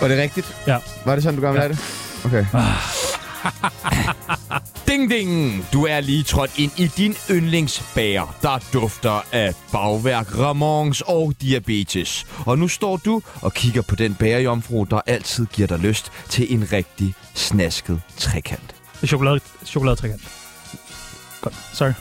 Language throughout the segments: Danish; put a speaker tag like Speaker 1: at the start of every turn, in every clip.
Speaker 1: Var det rigtigt?
Speaker 2: Ja.
Speaker 1: Var det sådan, du gerne ville have det? Okay.
Speaker 3: Ding ding! Du er lige trådt ind i din yndlingsbager, der dufter af bagværk, ramons og diabetes. Og nu står du og kigger på den bagerjomfru, der altid giver dig lyst til en rigtig snasket trekant.
Speaker 2: Det er chokolade, chokoladetrækant. Godt. Sorry.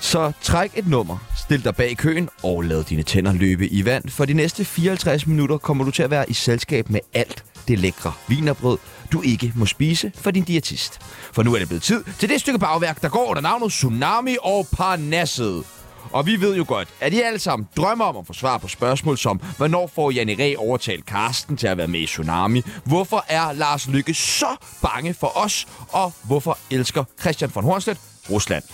Speaker 3: Så træk et nummer, stil dig bag køen og lad dine tænder løbe i vand. For de næste 54 minutter kommer du til at være i selskab med alt det lækre vinerbrød, du ikke må spise for din diætist. For nu er det blevet tid til det stykke bagværk, der går under navnet Tsunami og Parnasset. Og vi ved jo godt, at I alle sammen drømmer om at få svar på spørgsmål som, hvornår får Janne Ræ overtalt Karsten til at være med i Tsunami? Hvorfor er Lars Lykke så bange for os? Og hvorfor elsker Christian von Hornstedt Rusland?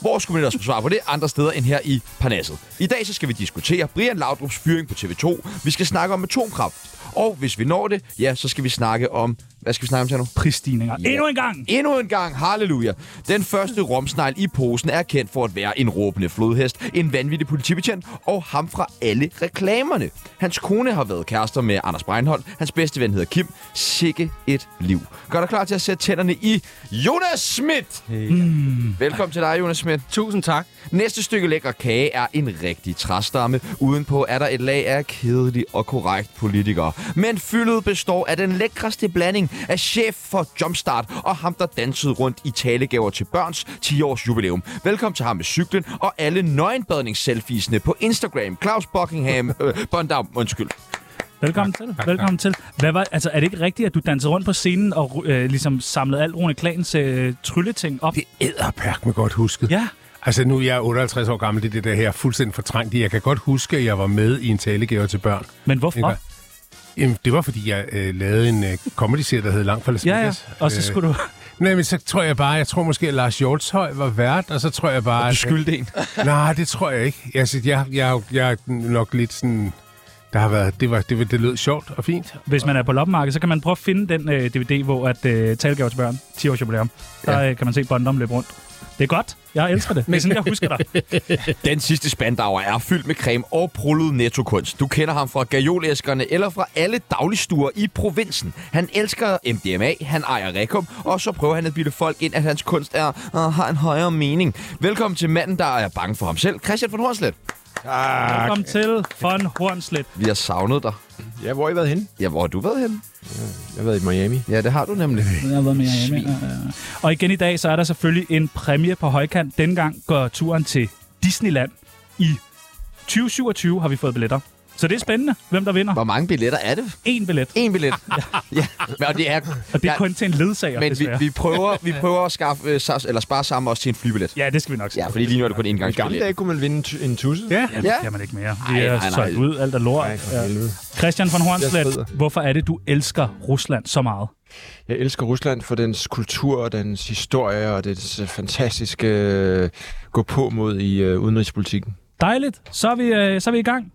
Speaker 3: Hvor skulle man ellers få svar på det andre steder end her i Parnasset? I dag så skal vi diskutere Brian Laudrups fyring på TV2. Vi skal snakke om atomkraft. Og hvis vi når det, ja, så skal vi snakke om... Hvad skal vi snakke om til nu?
Speaker 2: Prisstigninger.
Speaker 3: Ja.
Speaker 2: Yeah. Endnu en gang!
Speaker 3: Endnu en gang, halleluja. Den første romsnegl i posen er kendt for at være en råbende flodhest, en vanvittig politibetjent og ham fra alle reklamerne. Hans kone har været kærester med Anders Breinholt. Hans bedste ven hedder Kim. Sikke et liv. Gør dig klar til at sætte tænderne i Jonas Schmidt. Mm. Velkommen til dig, Jonas Schmidt.
Speaker 4: Tusind tak.
Speaker 3: Næste stykke lækker kage er en rigtig træstamme. Udenpå er der et lag af kedelig og korrekt politikere. Men fyldet består af den lækreste blanding af chef for Jumpstart og ham, der dansede rundt i talegaver til børns 10-års jubilæum. Velkommen til ham med cyklen og alle nøgenbadningsselfiesene på Instagram. Claus Buckingham, øh, Bondam, undskyld.
Speaker 2: Velkommen til. Velkommen til. Hvad var, altså, er det ikke rigtigt, at du dansede rundt på scenen og øh, ligesom samlede alt Rune Klans øh, trylleting op?
Speaker 4: Det æder
Speaker 5: Perk mig godt husket.
Speaker 2: Ja.
Speaker 5: Altså, nu er jeg 58 år gammel, det er det der her fuldstændig fortrængt. i. Jeg kan godt huske, at jeg var med i en talegave til børn.
Speaker 2: Men hvorfor?
Speaker 5: Ikke? Jamen, det var, fordi jeg øh, lavede en øh, comedy-serie, der hed Langt fra Las
Speaker 2: Ja, ja.
Speaker 5: Vegas.
Speaker 2: Og så skulle du...
Speaker 5: Øh, nej, men så tror jeg bare, jeg tror måske, at Lars Hjortshøj var vært, og så tror jeg bare...
Speaker 3: Du skyldte en.
Speaker 5: at, nej, det tror jeg ikke. Altså, jeg, jeg, jeg er nok lidt sådan... Der har været, det, var, det, var- det lød sjovt og fint.
Speaker 2: Hvis man er på loppemarkedet, så kan man prøve at finde den øh, DVD, hvor at øh, talegaver til børn, 10 års jubilæum, der øh, kan man se Bondom løbe rundt. Det er godt. Jeg elsker det. Men sådan, jeg husker dig.
Speaker 3: Den sidste spandauer er fyldt med creme og prullet nettokunst. Du kender ham fra gajolæskerne eller fra alle dagligstuer i provinsen. Han elsker MDMA, han ejer Rekum, og så prøver han at bilde folk ind, at hans kunst er, og har en højere mening. Velkommen til manden, der er bange for ham selv, Christian von Hornslet.
Speaker 2: Velkommen til Von Hornslet.
Speaker 3: Vi har savnet dig.
Speaker 4: Ja, hvor har I været henne?
Speaker 3: Ja, hvor har du været henne? Øh.
Speaker 4: Jeg har været i Miami.
Speaker 3: Ja, det har du nemlig.
Speaker 2: Jeg har været mere hjemme. Ja, ja. Og igen i dag, så er der selvfølgelig en præmie på højkant. Dengang går turen til Disneyland. I 2027 har vi fået billetter. Så det er spændende, hvem der vinder.
Speaker 3: Hvor mange billetter er det?
Speaker 2: En billet.
Speaker 3: En billet. ja, og det er...
Speaker 2: Og det er
Speaker 3: ja,
Speaker 2: kun til en ledsager,
Speaker 3: men vi,
Speaker 2: desværre.
Speaker 3: vi, prøver, vi prøver at skaffe, øh, sa- eller spare sammen også til en flybillet.
Speaker 2: Ja, det skal vi nok se.
Speaker 3: Ja, fordi lige nu er det kun en
Speaker 4: I
Speaker 3: gang.
Speaker 4: gamle dage kunne man vinde en tu- en tusse.
Speaker 5: Ja,
Speaker 2: Ja, det
Speaker 3: Ja.
Speaker 2: kan man ikke mere.
Speaker 3: Ej,
Speaker 2: Vi
Speaker 3: nej,
Speaker 2: er
Speaker 3: nej.
Speaker 2: solgt ud, alt er lort.
Speaker 4: Nej, for
Speaker 2: Ja.
Speaker 4: helvede.
Speaker 2: Christian von
Speaker 4: Jeg strider.
Speaker 2: Hornslet, hvorfor er det, du elsker Rusland så meget?
Speaker 4: Jeg elsker Rusland for dens kultur og dens historie og dens øh, fantastiske øh, gå på mod i øh, udenrigspolitikken.
Speaker 2: Dejligt. Så er vi, øh, så er vi i gang.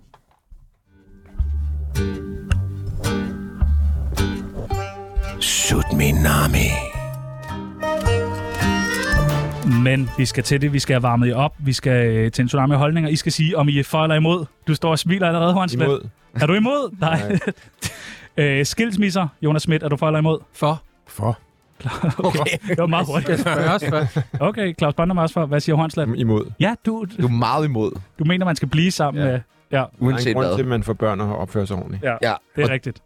Speaker 5: Sut min nami.
Speaker 2: Men vi skal til det. Vi skal have varmet jer op. Vi skal øh, til en tsunami af holdninger. I skal sige, om I er for eller imod. Du står og smiler allerede, Hornslet.
Speaker 4: Imod.
Speaker 2: Er du imod? Nej. øh, skilsmisser, Jonas Schmidt, er du for eller imod?
Speaker 6: For.
Speaker 5: For.
Speaker 2: Okay. Det var meget hurtigt.
Speaker 6: Først, først.
Speaker 2: Okay, Claus Bondum er også for. Hvad siger Hornslet?
Speaker 4: Imod.
Speaker 2: Ja, du,
Speaker 3: Du er meget imod,
Speaker 2: du mener, man skal blive sammen
Speaker 4: Ja.
Speaker 2: med... Ja,
Speaker 4: Der er en
Speaker 3: uanset
Speaker 4: grund
Speaker 3: hvad.
Speaker 4: til, at man får børn og opfører sig ordentligt.
Speaker 2: ja,
Speaker 3: Ja,
Speaker 2: det er
Speaker 3: og
Speaker 2: rigtigt.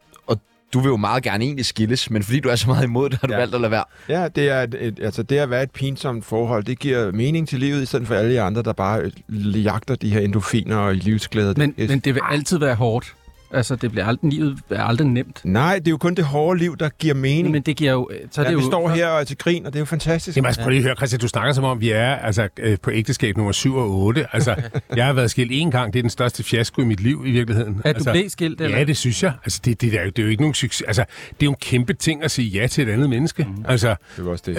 Speaker 3: du vil jo meget gerne egentlig skilles, men fordi du er så meget imod det, har du ja.
Speaker 4: Ja.
Speaker 3: valgt at lade være.
Speaker 4: Ja, det er et, et, altså det at være et pinsomt forhold, det giver mening til livet, i stedet for alle de andre, der bare øh, jagter de her endorfiner og livsglæder.
Speaker 6: Men,
Speaker 4: Det-
Speaker 6: men det vil altid være hårdt. Altså, det bliver aldrig, livet er aldrig nemt.
Speaker 4: Nej, det er jo kun det hårde liv, der giver mening.
Speaker 6: Men det giver jo... øh, Så er
Speaker 4: ja,
Speaker 6: det
Speaker 4: vi
Speaker 6: jo,
Speaker 4: står her og er til grin, og det er jo fantastisk.
Speaker 5: Jamen, altså, prøv lige at høre, Christian, du snakker som om, vi er altså, øh, på ægteskab nummer 7 og 8. Altså, jeg har været skilt én gang. Det er den største fiasko i mit liv, i virkeligheden.
Speaker 6: At
Speaker 5: altså,
Speaker 6: du blev skilt, eller?
Speaker 5: Ja, det synes jeg. Altså, det, det, er, jo- det er jo ikke nogen succes. Altså, det er jo en kæmpe ting at sige ja til et andet menneske.
Speaker 6: Mhm.
Speaker 5: Mm. Altså,
Speaker 4: Det er jo også det.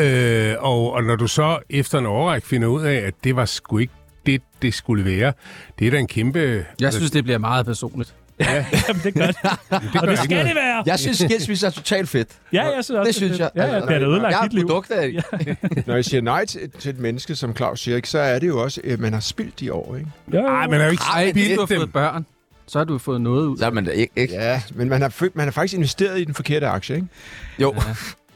Speaker 5: øh, og, og når du så efter en overræk finder ud af, at det var sgu ikke det, det skulle være, det er da en kæmpe...
Speaker 6: Jeg synes, det bliver meget personligt.
Speaker 2: Jamen, det er godt.
Speaker 5: det,
Speaker 2: Og
Speaker 5: gør
Speaker 2: det
Speaker 5: ikke
Speaker 2: skal
Speaker 5: noget.
Speaker 2: det være.
Speaker 3: Jeg synes, skilsmisse er totalt fedt.
Speaker 2: Ja, jeg synes også,
Speaker 3: Det synes jeg. Altså,
Speaker 2: Ja, ja, det er da ødelagt
Speaker 3: Jeg er
Speaker 2: dit liv.
Speaker 3: et produkt af det.
Speaker 4: Når jeg siger nej til, til et menneske, som Claus siger, ikke, så er det jo også, at man øh, har spildt de år. Ikke?
Speaker 2: Ja, ja, ja.
Speaker 5: Ej, man har jo ikke
Speaker 6: Ej,
Speaker 5: spildt
Speaker 6: du har
Speaker 5: dem.
Speaker 6: fået børn. så har du fået noget ud.
Speaker 3: Så er man da ikke... ikke.
Speaker 4: Ja, men man har, fø- man har faktisk investeret i den forkerte aktie, ikke?
Speaker 3: Jo,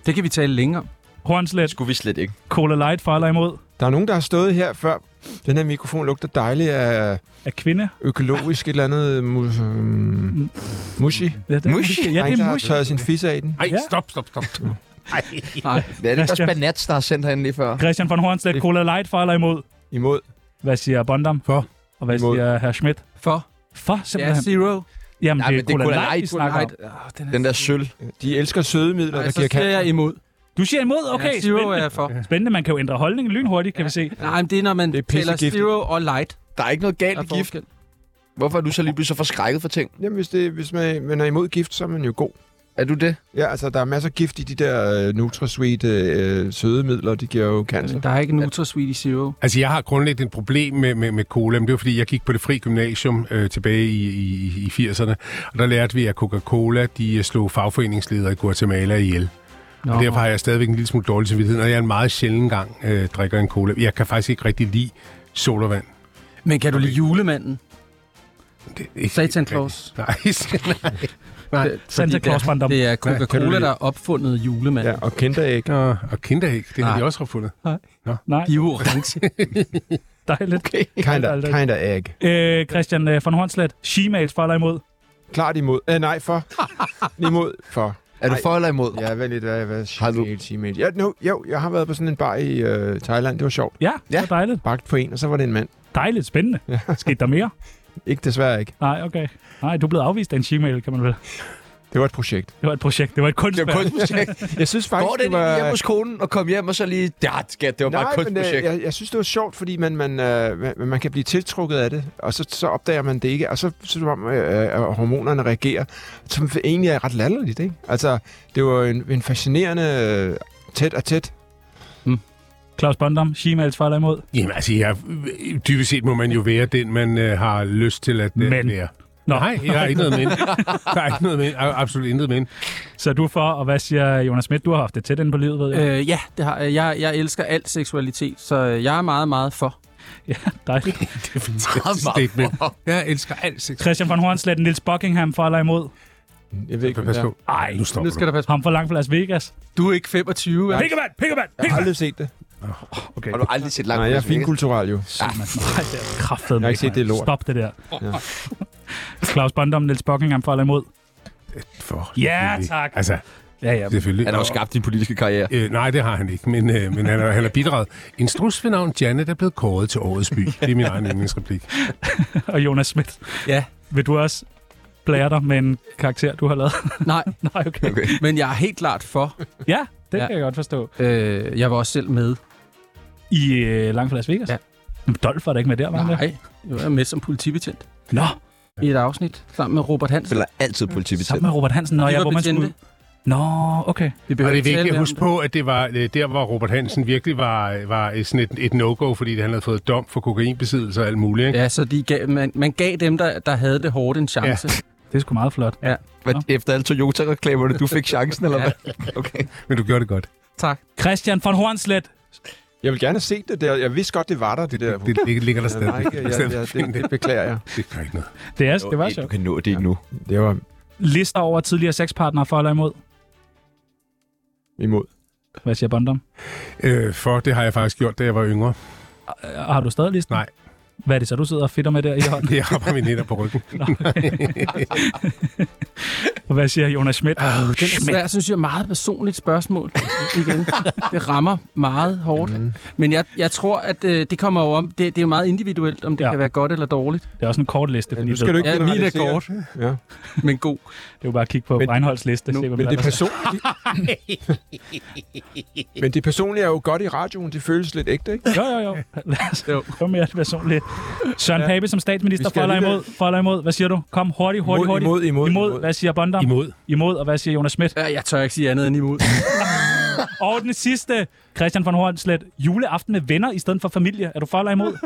Speaker 6: Det kan vi tale længere om.
Speaker 2: Hornslet,
Speaker 3: skulle vi slet ikke.
Speaker 2: Cola Light fejler imod.
Speaker 4: Der er nogen, der har stået her før. Den her mikrofon lugter dejligt af
Speaker 2: Er kvinde?
Speaker 4: økologisk et eller andet mu- mm, mushi.
Speaker 2: Ja, det,
Speaker 3: Mushi.
Speaker 2: Ja,
Speaker 4: Der er
Speaker 2: det
Speaker 4: en, der
Speaker 2: er
Speaker 4: har
Speaker 2: mushi.
Speaker 4: tørret sin fisse af den.
Speaker 5: Ej,
Speaker 2: Ja.
Speaker 5: stop, stop, stop.
Speaker 6: Nej,
Speaker 3: Det er det ikke også
Speaker 2: Christian.
Speaker 3: Banats, der har sendt herinde lige før?
Speaker 2: Christian von Hornslet, Cola Light fejler imod.
Speaker 4: Imod.
Speaker 2: Hvad siger Bondam?
Speaker 5: For.
Speaker 2: Og hvad
Speaker 4: Imod.
Speaker 2: siger herr Schmidt?
Speaker 6: for
Speaker 2: For,
Speaker 6: ja,
Speaker 2: simpelthen.
Speaker 6: zero.
Speaker 2: Jamen,
Speaker 3: Nej,
Speaker 2: det er
Speaker 3: men det er
Speaker 2: Cola
Speaker 3: Cola
Speaker 2: Light,
Speaker 3: Light,
Speaker 2: vi
Speaker 3: Cola
Speaker 2: snakker om.
Speaker 6: Light. Åh, den er
Speaker 3: Den der
Speaker 6: så-
Speaker 3: søl.
Speaker 4: De elsker sødemidler,
Speaker 6: Nej,
Speaker 4: der
Speaker 6: så
Speaker 4: giver
Speaker 6: siger
Speaker 4: kant.
Speaker 6: jeg imod.
Speaker 2: Du siger imod? Okay,
Speaker 6: ja, zero
Speaker 2: spændende.
Speaker 6: er for.
Speaker 2: Spændende, man kan jo ændre holdning lynhurtigt, kan vi se.
Speaker 6: Nej, men det er, når man
Speaker 4: Det er
Speaker 6: tæller
Speaker 4: pissegiftigt.
Speaker 6: zero og light.
Speaker 3: Der er ikke noget
Speaker 6: Der
Speaker 3: galt
Speaker 6: er
Speaker 3: i gift.
Speaker 6: forskel.
Speaker 3: Hvorfor er du så lige pludselig så forskrækket for ting?
Speaker 4: Jamen, hvis, det, hvis man, man er imod gift, så er man jo god.
Speaker 3: Er du det?
Speaker 4: Ja, altså, der er masser af gift i de der uh, Nutrasweet uh, sødemidler, de giver jo cancer.
Speaker 6: Altså, Der er ikke Nutrasweet i zero.
Speaker 5: Altså, jeg har grundlæggende et problem med, med, med cola, men det var, fordi jeg gik på det fri gymnasium øh, tilbage i, i, i 80'erne, og der lærte vi, at Coca-Cola, de øh, slog fagforeningsledere i Guatemala ihjel.
Speaker 6: Nå.
Speaker 5: Og derfor har jeg stadigvæk en lille smule dårlig samvittighed, og jeg er en meget sjældent gang øh, drikker en cola. Jeg kan faktisk ikke rigtig lide sodavand.
Speaker 6: Men kan du lide julemanden?
Speaker 5: Det er ikke
Speaker 6: Satan
Speaker 5: rigtigt.
Speaker 6: Claus.
Speaker 5: Nej, nej. Nej.
Speaker 6: Det-
Speaker 2: Santa
Speaker 6: fordi det er-
Speaker 2: Claus barndom.
Speaker 6: Det er
Speaker 5: Kan du
Speaker 6: Coca-Cola,
Speaker 5: lide-
Speaker 6: der har opfundet
Speaker 4: Ja,
Speaker 6: julemanden.
Speaker 4: og kinderæg.
Speaker 5: Nå, og kinderæg, det har
Speaker 6: Nej.
Speaker 5: de også opfundet.
Speaker 2: Nej,
Speaker 6: De er orange.
Speaker 2: dejligt. Okay.
Speaker 4: Kinda, kinda egg.
Speaker 2: Øh, Christian øh, von Hornslet, Shemales fejler imod.
Speaker 4: Klart imod. Æh, nej, for. imod for.
Speaker 3: Er du
Speaker 4: Nej.
Speaker 3: for eller imod?
Speaker 4: Ja, vent lidt. Hvad, hvad,
Speaker 3: Har du-
Speaker 4: du... Ja, no, jo, jeg har været på sådan en bar i øh, Thailand. Det var sjovt.
Speaker 2: Ja, ja.
Speaker 3: Ja.
Speaker 2: Så dejligt.
Speaker 4: Bagt på en, og så var det en mand.
Speaker 2: Dejligt, spændende. Skete der mere?
Speaker 4: Ikke desværre ikke.
Speaker 2: Nej, okay. Nej, du er blevet afvist af en Shemale, kan man vel.
Speaker 4: Det var et projekt.
Speaker 2: Det var et projekt, det var et
Speaker 3: Det
Speaker 2: kunstværk.
Speaker 3: var kunstprojekt.
Speaker 4: Jeg synes faktisk,
Speaker 3: Går det
Speaker 4: det var...
Speaker 3: hjem hos konen og kom hjem og så lige... Ja, skat, det var bare et
Speaker 4: Nej, men øh,
Speaker 3: kunstprojekt.
Speaker 4: jeg, jeg synes, det var sjovt, fordi man, man, øh, man, man kan blive tiltrukket af det, og så, så opdager man det ikke, og så synes man, øh, at hormonerne reagerer, som egentlig er ret latterligt, ikke? Altså, det var en, en fascinerende øh, tæt og tæt.
Speaker 2: Claus Bondam, Shemales fejler imod.
Speaker 5: Jamen altså, jeg, dybest set må man jo være den, man øh, har lyst til at øh,
Speaker 2: Men.
Speaker 5: være.
Speaker 2: Nå.
Speaker 5: Nej, jeg har ikke noget men. Der er ikke noget men. Absolut intet men.
Speaker 2: Så du er for, og hvad siger Jonas Schmidt? Du har haft det tæt inde på livet, ved jeg.
Speaker 6: øh, ja, det har, jeg. jeg. Jeg elsker al seksualitet, så jeg er meget, meget for.
Speaker 2: Dejligt.
Speaker 5: Meget, meget statement. Jeg elsker alt sex.
Speaker 2: Christian von Hornslet, Nils Buckingham fejler imod.
Speaker 4: Jeg ved ikke,
Speaker 5: Pas
Speaker 4: jeg,
Speaker 5: på.
Speaker 2: Ej,
Speaker 5: Nu stopper
Speaker 6: Nu skal
Speaker 5: du.
Speaker 6: der passe på.
Speaker 2: ham for langt fra Las Vegas.
Speaker 6: Du er ikke 25, vel?
Speaker 2: Pikkemand, pikkemand,
Speaker 4: jeg har
Speaker 2: pikkemand.
Speaker 4: aldrig set det.
Speaker 2: Okay.
Speaker 3: Har du aldrig set langt?
Speaker 4: Nej, jeg er
Speaker 3: Las Vegas?
Speaker 4: finkulturel jo.
Speaker 2: Nej, det er kraftet.
Speaker 4: Jeg har ikke set det lort.
Speaker 2: Stop det der.
Speaker 4: Ja.
Speaker 2: Claus Bondam, Nils Buckingham fejler imod.
Speaker 5: For,
Speaker 2: Ja,
Speaker 5: selvfølgelig.
Speaker 2: tak.
Speaker 5: Altså,
Speaker 2: Ja, ja.
Speaker 5: selvfølgelig.
Speaker 3: Han har jo skabt din politiske karriere.
Speaker 5: Øh, nej, det har han ikke, men, øh, men han, har, han har bidraget. En strus ved navn Janet er blevet kåret til årets by. Det er min egen yndlingsreplik.
Speaker 2: Og Jonas Schmidt,
Speaker 6: Ja.
Speaker 2: vil du også blære dig med en karakter, du har lavet?
Speaker 6: Nej,
Speaker 2: Nej, okay.
Speaker 3: Okay.
Speaker 6: men jeg er helt klart for.
Speaker 2: Ja, det ja.
Speaker 6: Ja.
Speaker 2: kan jeg godt forstå.
Speaker 6: Øh, jeg var også selv med.
Speaker 2: I øh, langt fra Las Vegas?
Speaker 6: Ja.
Speaker 2: Jamen, Dolph var da ikke med der, var han der?
Speaker 6: Nej, jeg var med som politibetjent
Speaker 2: Nå,
Speaker 6: i et afsnit sammen med Robert Hansen.
Speaker 3: Spiller altid politibetjent.
Speaker 2: sammen med Robert Hansen. Nå,
Speaker 6: Vi
Speaker 2: ja,
Speaker 6: var
Speaker 2: hvor man
Speaker 6: betjente.
Speaker 2: skulle... Nå, okay.
Speaker 6: Vi
Speaker 5: Og
Speaker 6: behøver
Speaker 5: det er
Speaker 6: ikke tale
Speaker 5: vigtigt at
Speaker 6: mere om
Speaker 5: huske på, at det var øh, der, hvor Robert Hansen virkelig var, var øh, sådan et, et no-go, fordi han havde fået dom for kokainbesiddelse og alt muligt. Ikke?
Speaker 6: Ja, så de gav, man, man gav dem, der, der havde det hårdt, en chance.
Speaker 2: Det er sgu meget flot.
Speaker 3: Hvad, efter alle Toyota-reklamerne, du fik chancen, eller hvad? Okay.
Speaker 5: Men du gjorde det godt.
Speaker 6: Tak.
Speaker 2: Christian von Hornslet.
Speaker 4: Jeg vil gerne have set det der. Jeg vidste godt, det var der, det der.
Speaker 5: Det, det ligger der
Speaker 4: Jeg var
Speaker 5: stadig.
Speaker 4: ikke- jeg- jeg- det, det beklager jeg.
Speaker 5: Det gør ikke noget.
Speaker 2: Det, er, det var
Speaker 3: Du
Speaker 2: sjovt.
Speaker 3: kan nå det nu.
Speaker 4: Det var
Speaker 2: Lister over tidligere sexpartnere for eller imod.
Speaker 4: imod.
Speaker 2: Hvad siger Bondom?
Speaker 5: Øh, for det har jeg faktisk gjort, da jeg var yngre.
Speaker 2: Øh, Har du stadig listen?
Speaker 5: Nej.
Speaker 2: Hvad er det så, du sidder og fedter med der i hånden?
Speaker 5: Det har bare min hænder på ryggen.
Speaker 2: Og hvad siger Jonas Schmidt? Oh,
Speaker 6: Den er svært, synes jeg, meget personligt spørgsmål. Igen. Det rammer meget hårdt.
Speaker 5: Mhm.
Speaker 6: Mm. Men jeg, jeg tror, at øh, det kommer jo om, det, det er jo meget individuelt, om det
Speaker 2: Ja.
Speaker 6: ja. kan være godt eller dårligt.
Speaker 2: Det er også en kort liste, fordi
Speaker 4: Nu skal du ikke
Speaker 6: Ja, min er
Speaker 4: generalisere.
Speaker 6: kort,
Speaker 4: Ja.
Speaker 6: men god.
Speaker 2: det er jo bare at kigge på
Speaker 4: Men-
Speaker 2: Reinholds liste.
Speaker 4: Nu,
Speaker 2: se, hvad
Speaker 4: men,
Speaker 2: man
Speaker 4: det
Speaker 2: ellers-
Speaker 4: personlige... men det personlige er jo godt i radioen. Det føles lidt ægte, ikke?
Speaker 2: Jo, jo, jo. Lad os
Speaker 6: Jo.
Speaker 2: komme mere personligt. Søren ja. Pape som statsminister,
Speaker 4: Vi skal
Speaker 2: for eller
Speaker 4: alligevel-
Speaker 2: imod, for eller imod. Hvad siger du? Kom, hurtigt, hurtigt, hurtigt.
Speaker 4: imod, imod,
Speaker 2: imod.
Speaker 4: imod.
Speaker 2: Hvad siger Bondam?
Speaker 5: Imod.
Speaker 2: Imod, og hvad siger Jonas Schmidt?
Speaker 6: Øh, Jeg tør ikke sige andet end imod.
Speaker 2: Og den sidste, Christian von Hornslet, juleaften med venner i stedet for familie. Er du for eller imod?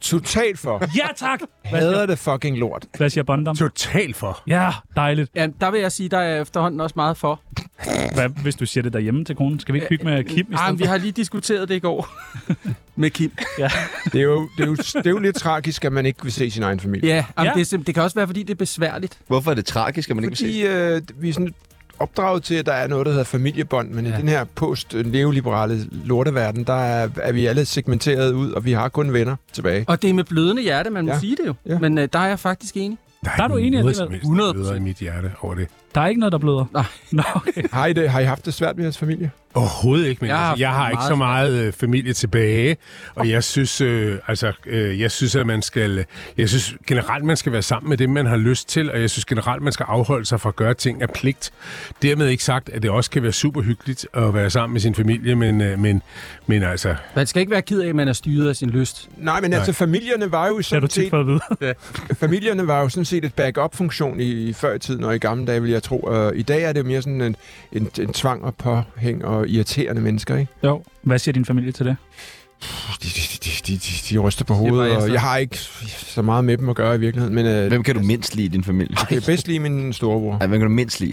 Speaker 4: Totalt for.
Speaker 2: Ja, tak! Hvad siger,
Speaker 4: Hader det fucking lort.
Speaker 2: hvad siger Bondam?
Speaker 5: Totalt for.
Speaker 2: Ja, dejligt.
Speaker 6: Ja, der vil jeg sige, der er efterhånden også meget for.
Speaker 2: Hvad, hvis du siger det derhjemme til konen? Skal vi ikke hygge med Kim i
Speaker 6: Ej, Ah, men
Speaker 2: stedet
Speaker 6: vi har lige diskuteret det i går. med Kim.
Speaker 4: Det er, jo, det, er jo, det er jo lidt tragisk, at man ikke vil se sin egen familie.
Speaker 6: Ja, ja.
Speaker 2: Ja.
Speaker 6: Det, er sim- det kan også være, fordi det er besværligt.
Speaker 3: Hvorfor er det tragisk, at man ikke vil se?
Speaker 4: Fordi øh, vi er sådan opdraget til, at der er noget, der hedder familiebånd, men ja. i den her post-neoliberale lorteverden, der er, er vi alle segmenteret ud, og vi har kun venner tilbage.
Speaker 6: Og det er med blødende hjerte, man må
Speaker 4: Ja.
Speaker 6: sige det jo.
Speaker 4: Ja.
Speaker 6: Men øh, der er jeg faktisk enig.
Speaker 2: Der er du enig
Speaker 5: noget
Speaker 2: alligevel.
Speaker 5: som helst
Speaker 6: 100%.
Speaker 5: bedre i mit hjerte over det.
Speaker 2: Der er ikke noget, der bløder.
Speaker 6: Nej.
Speaker 2: Nå, okay.
Speaker 4: Har I, det, har I haft det svært med jeres familie?
Speaker 5: Overhovedet ikke, men
Speaker 6: Jeg
Speaker 5: jeg
Speaker 6: har
Speaker 5: har,
Speaker 6: haft
Speaker 5: altså, jeg har
Speaker 6: meget
Speaker 5: ikke så
Speaker 6: svært.
Speaker 5: meget øh, familie tilbage, og jeg synes, øh, altså, øh, jeg synes, at man skal, øh, jeg synes generelt, man skal være sammen med det, man har lyst til, og jeg synes generelt, man skal afholde sig fra at gøre ting af pligt. Dermed ikke sagt, at det også kan være super hyggeligt at være sammen med sin familie, men, øh, men, men altså,
Speaker 6: Man skal ikke være ked af, at man er styret af sin lyst.
Speaker 4: Nej, men Nej. altså familierne var jo
Speaker 2: Det har du
Speaker 4: sådan
Speaker 2: tit
Speaker 4: set, øh,
Speaker 2: fået at vide.
Speaker 4: familierne var jo sådan set et backup-funktion i, i før i tiden, og i gamle dage, vil jeg tro. Og I dag er det jo mere sådan en, en, en tvang og påhæng og irriterende mennesker, ikke?
Speaker 2: Jo. Hvad siger din familie til det?
Speaker 4: De, de, de, de, de, de ryster på
Speaker 6: var
Speaker 4: hovedet,
Speaker 6: jeg
Speaker 4: og
Speaker 6: så.
Speaker 4: jeg har ikke så meget med dem at gøre i virkeligheden, men øh,
Speaker 3: Hvem kan du mindst lide i din familie?
Speaker 4: det er bedst lige min storebror.
Speaker 3: Ej, hvem kan du mindst lide?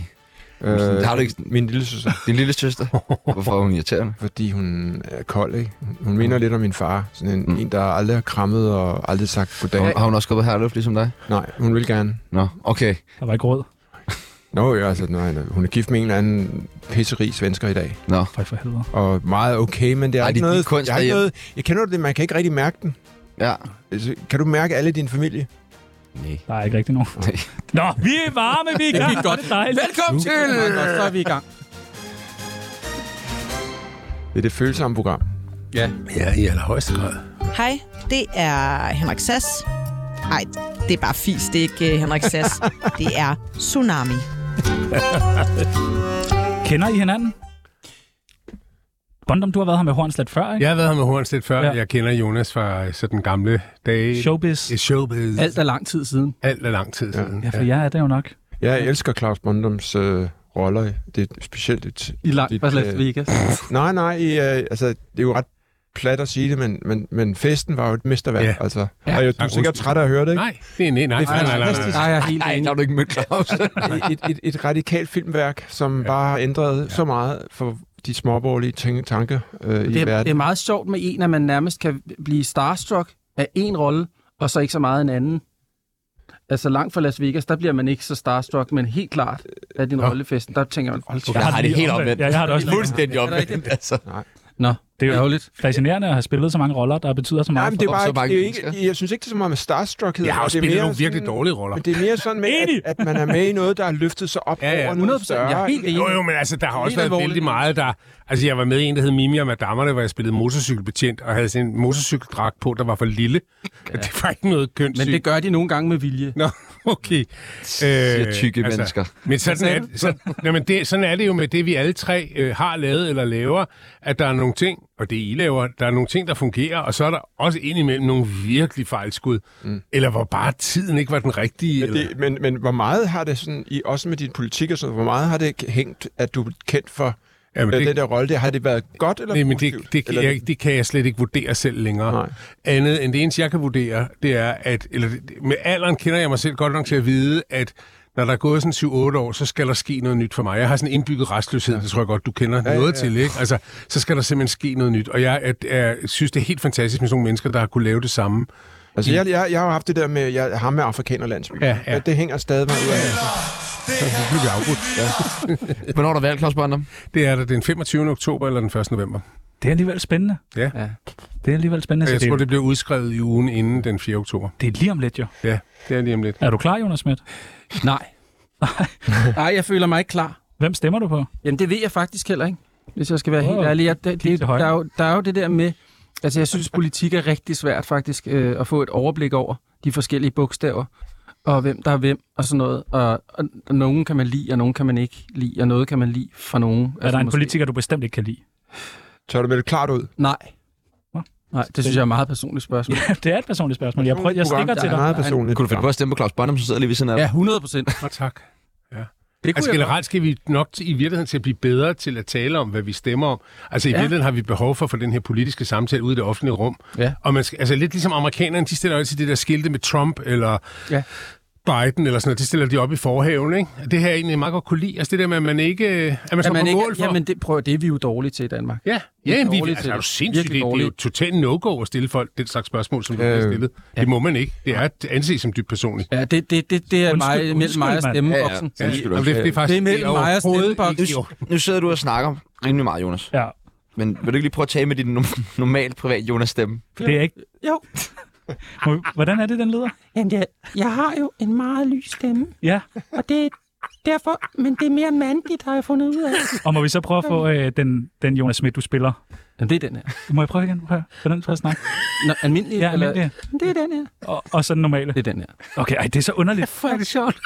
Speaker 4: Øh,
Speaker 3: Øh, har du ikke
Speaker 4: min lille søster.
Speaker 3: din lille søster? Hvorfor er hun irriterende?
Speaker 4: fordi hun er kold, ikke? Hun minder lidt om min far. Sådan en,
Speaker 3: Mm.
Speaker 4: mm. en der aldrig har krammet og aldrig sagt goddag.
Speaker 3: Har, har hun også gået på herluft ligesom dig?
Speaker 4: Nej, hun vil gerne.
Speaker 3: Nå, okay.
Speaker 2: Der var ikke råd.
Speaker 4: Nå, jo, altså, nej, nej, hun er gift med en eller anden pisserig svensker i dag.
Speaker 3: Nå.
Speaker 2: For, for helvede.
Speaker 4: Og meget okay, men det er
Speaker 3: Ej,
Speaker 4: ikke
Speaker 3: det er din
Speaker 4: noget...
Speaker 3: kunst
Speaker 4: jeg, har ikke
Speaker 3: derhjemme.
Speaker 4: noget jeg kender det, man kan ikke rigtig mærke den.
Speaker 3: Ja.
Speaker 4: Altså, kan du mærke alle i din familie?
Speaker 3: Nej.
Speaker 2: Der er ikke rigtig nogen.
Speaker 3: Nej.
Speaker 2: Nå, vi er varme, vi er i gang. Det er dejligt.
Speaker 6: Velkommen til! Det er meget godt, så er vi i gang.
Speaker 4: Det er det følsomme program.
Speaker 5: ja, i allerhøjeste grad.
Speaker 7: Hej, det er Henrik Sass. Nej, det er bare fis, det er ikke øh, Henrik Sass. det er Tsunami.
Speaker 2: Kender I hinanden? Bondum, du har været her med Hornslet før, ikke?
Speaker 5: Jeg har været her med Horns lidt før.
Speaker 2: Ja.
Speaker 5: Ja. Jeg kender Jonas fra øh, sådan gamle dage.
Speaker 2: Showbiz.
Speaker 5: Ja, Showbiz. Alt.
Speaker 6: Alt er lang tid siden.
Speaker 5: Alt er lang tid siden.
Speaker 2: Ja, for jeg er det jo nok.
Speaker 4: Jeg elsker Claus Bondums øh, roller. Det er specielt et...
Speaker 6: I langt
Speaker 4: Dit,
Speaker 6: fra Las
Speaker 4: øh,
Speaker 6: Vegas.
Speaker 4: Nej, nej, i, øh, altså, det er jo ret plat at sige det, men, men, men festen var jo et mesterværk.
Speaker 5: Ja.
Speaker 4: Ja. Altså,
Speaker 6: Ja.
Speaker 4: ja. Og jeg, du er
Speaker 5: Tak,
Speaker 4: sikkert
Speaker 5: undskyld.
Speaker 4: træt af at høre det, ikke?
Speaker 5: Nej, det er, nej, nej,
Speaker 4: Det er
Speaker 5: nej, nej, nej, nej.
Speaker 4: fantastisk.
Speaker 6: Nej, jeg er helt
Speaker 3: Nej,
Speaker 6: enig.
Speaker 3: der har du ikke mødt Claus.
Speaker 4: et, et, et radikalt filmværk, som ja. bare ændrede ja. så meget for de småborgerlige tænke, tanker øh, i
Speaker 6: Det er,
Speaker 4: verden.
Speaker 6: det er meget sjovt med en, at man nærmest kan blive starstruck af en rolle, og så ikke så meget en anden. Altså langt fra Las Vegas, der bliver man ikke så starstruck, men helt klart af din
Speaker 5: Nå.
Speaker 6: rollefesten, der tænker man, hold
Speaker 3: Jeg
Speaker 6: kæft,
Speaker 3: har det
Speaker 2: lige
Speaker 3: helt omvendt.
Speaker 2: Ja, jeg har det også. lige
Speaker 3: Fuldstændig
Speaker 6: Er der ikke
Speaker 3: omvendt. Altså.
Speaker 6: nå,
Speaker 2: Det er jo
Speaker 6: ærgerligt.
Speaker 2: fascinerende at have spillet så mange roller, der betyder så
Speaker 4: Nej,
Speaker 2: meget.
Speaker 4: men det er
Speaker 3: Og så
Speaker 4: bare,
Speaker 3: mange
Speaker 4: ikke- det er jo ikke,
Speaker 3: mennesker.
Speaker 4: jeg synes ikke, det er så meget med starstruckhed.
Speaker 5: Jeg har jo
Speaker 4: Det er
Speaker 5: spillet
Speaker 4: mere
Speaker 5: nogle virkelig
Speaker 4: sådan-
Speaker 5: dårlige roller.
Speaker 4: Men det er mere sådan med,
Speaker 2: Enig!
Speaker 4: at, at man er med i noget, der har løftet sig op
Speaker 5: Ja, ja.
Speaker 4: over
Speaker 6: 100
Speaker 4: noget større.
Speaker 6: jeg er helt enig.
Speaker 5: Jo, jo, men altså, der har også
Speaker 6: Helt
Speaker 5: været
Speaker 6: alvorligt.
Speaker 5: vældig meget, der... Altså, jeg var med i en, der hed Mimi og Madammerne, hvor jeg spillede motorcykelbetjent, og havde sådan en motorcykeldragt på, der var for lille. Ja. Det var ikke noget kønssygt.
Speaker 6: Men det gør de nogle gange med vilje.
Speaker 5: Nå, okay. Øh, altså,
Speaker 3: Siger tykke mennesker.
Speaker 5: Men sådan er, sådan, jamen det, sådan er det jo med det, vi alle tre øh, har lavet eller laver, at der er nogle ting, og det I laver, der er nogle ting, der fungerer, og så er der også indimellem nogle virkelig fejlskud, mm. eller hvor bare tiden ikke var den rigtige.
Speaker 4: Men,
Speaker 5: eller,
Speaker 4: det, men, men hvor meget har det sådan, i, også med din politik og sådan hvor meget har det hængt, at du er kendt for
Speaker 5: Jamen,
Speaker 4: øh,
Speaker 5: det-
Speaker 4: den der rolle der? Har det været godt eller
Speaker 5: Nej, men
Speaker 4: positivt?
Speaker 5: det, det,
Speaker 4: Eller-
Speaker 5: kan jeg, det kan jeg slet ikke vurdere selv længere.
Speaker 4: Nej.
Speaker 5: Andet end det eneste, jeg kan vurdere, det er, at eller, det- med alderen kender jeg mig selv godt nok til at vide, at når der er gået sådan 7-8 år, så skal der ske noget nyt for mig. Jeg har sådan en indbygget restløshed, det tror jeg godt, du kender ja, noget ja. til. Ikke? Altså, så skal der simpelthen ske noget nyt. Og jeg, at, jeg synes, det er helt fantastisk med sådan nogle mennesker, der har kunne lave det samme.
Speaker 4: Altså, jeg, jeg, jeg har jo haft det der med, jeg, ham med afrikanerlandsby.
Speaker 5: Ja, ja.
Speaker 4: Det, det hænger stadig med ud af.
Speaker 5: Så blev vi afbrudt. Ja.
Speaker 3: Hvornår har du valgt, Claus Bondum?
Speaker 5: Det er der den 25. oktober eller den 1. november.
Speaker 2: Det er alligevel spændende.
Speaker 5: Ja.
Speaker 6: Ja.
Speaker 2: Det er alligevel spændende.
Speaker 5: Altså,
Speaker 2: Så
Speaker 5: jeg tror,
Speaker 2: det,
Speaker 5: Altså, det bliver udskrevet i ugen inden den 4. oktober.
Speaker 2: det er lige om lidt, jo.
Speaker 5: Ja, det er lige om lidt.
Speaker 2: Er du klar, Jonas Schmidt?
Speaker 6: Nej. Nej, jeg føler mig ikke klar.
Speaker 2: Hvem stemmer du på?
Speaker 6: Jamen, det ved jeg faktisk heller ikke, hvis jeg skal være helt
Speaker 2: Wow.
Speaker 6: ærlig. Jeg, det,
Speaker 2: Kig til
Speaker 6: det, der,
Speaker 2: højre.
Speaker 6: er jo, der er jo det der med... Altså, jeg synes, politik er rigtig svært faktisk øh, at få et overblik over de forskellige bogstaver, og hvem der er hvem, og sådan noget. Og, og, og nogen kan man lide, og nogen kan man ikke lide, og noget kan man lide fra nogen. Altså,
Speaker 2: Er der en politiker, du bestemt ikke kan lide?
Speaker 4: Tør du med det klart ud?
Speaker 6: Nej.
Speaker 2: Nå.
Speaker 6: Nej, det synes jeg er et meget personligt spørgsmål.
Speaker 2: Ja, det er et personligt spørgsmål. Jeg, prøver, jeg
Speaker 4: Program,
Speaker 2: stikker
Speaker 4: der
Speaker 2: til
Speaker 4: er
Speaker 2: dig.
Speaker 4: meget personligt.
Speaker 3: Kunne du finde på at stemme på Claus Bondum, så sidder lige ved siden af?
Speaker 6: Ja, 100 procent.
Speaker 5: Og tak. Ja.
Speaker 6: Det
Speaker 5: Altså generelt skal vi nok til, i virkeligheden til at blive bedre til at tale om, hvad vi stemmer om. Altså i
Speaker 6: Ja.
Speaker 5: virkeligheden har vi behov for at få den her politiske samtale ude i det offentlige rum.
Speaker 6: Ja.
Speaker 5: Og man skal, altså lidt ligesom amerikanerne, de stiller jo altid det der skilte med Trump eller
Speaker 6: Ja.
Speaker 5: Biden eller sådan noget. De stiller de op i forhaven, ikke? Og Det her er egentlig meget godt kunne lide. Altså det der med, at man ikke... øh, At man,
Speaker 6: Ja,
Speaker 5: så
Speaker 6: man
Speaker 5: på
Speaker 6: ikke,
Speaker 5: mål for.
Speaker 6: jamen, det, prøv, det er vi jo dårlige til i Danmark.
Speaker 5: Ja, ja jamen, vi,
Speaker 6: dårlige
Speaker 5: altså,
Speaker 6: til
Speaker 5: er du
Speaker 6: det.
Speaker 5: sindssygt, det,
Speaker 6: Virkelig
Speaker 5: det er jo
Speaker 6: dårlige.
Speaker 5: totalt no-go at stille folk den slags spørgsmål, som du øh, har
Speaker 4: Øh,
Speaker 5: stillet. Ja. Det må man ikke. Det er at anses som dybt personligt.
Speaker 6: Ja, det, det, det, det er
Speaker 2: Undskyld,
Speaker 6: mig, mellem mig og
Speaker 2: undskyld, mand.
Speaker 6: stemmeboksen.
Speaker 5: Ja,
Speaker 3: Ja,
Speaker 5: det, det, er faktisk,
Speaker 6: Det er mellem
Speaker 5: jo
Speaker 6: mig og
Speaker 5: overhovedet
Speaker 6: stemmeboksen.
Speaker 5: ikke i orden.
Speaker 3: Nu sidder du og snakker rimelig meget, Jonas.
Speaker 2: Ja,
Speaker 3: Men vil du ikke lige prøve at tale med din no- normalt privat Jonas-stemme?
Speaker 2: det er ikke...
Speaker 6: Jo.
Speaker 2: Må vi- Hvordan er det, den lyder?
Speaker 6: Jamen, jeg, jeg har jo en meget lys stemme,
Speaker 2: Ja,
Speaker 6: og det er derfor, men det er mere mandligt, har jeg fundet ud af.
Speaker 2: og må vi så prøve at få øh, den, den Jonas Schmidt, du spiller?
Speaker 6: Jamen, det er den her.
Speaker 2: Må jeg prøve igen? Prøv, hvordan prøver at snakke?
Speaker 6: Nå, almindelig?
Speaker 2: Ja,
Speaker 6: eller-
Speaker 2: almindelig.
Speaker 6: Det er den her.
Speaker 2: Og, og så den normale.
Speaker 6: Det er den her.
Speaker 2: Okay, ej, det er så underligt.
Speaker 5: Hvor er det sjovt.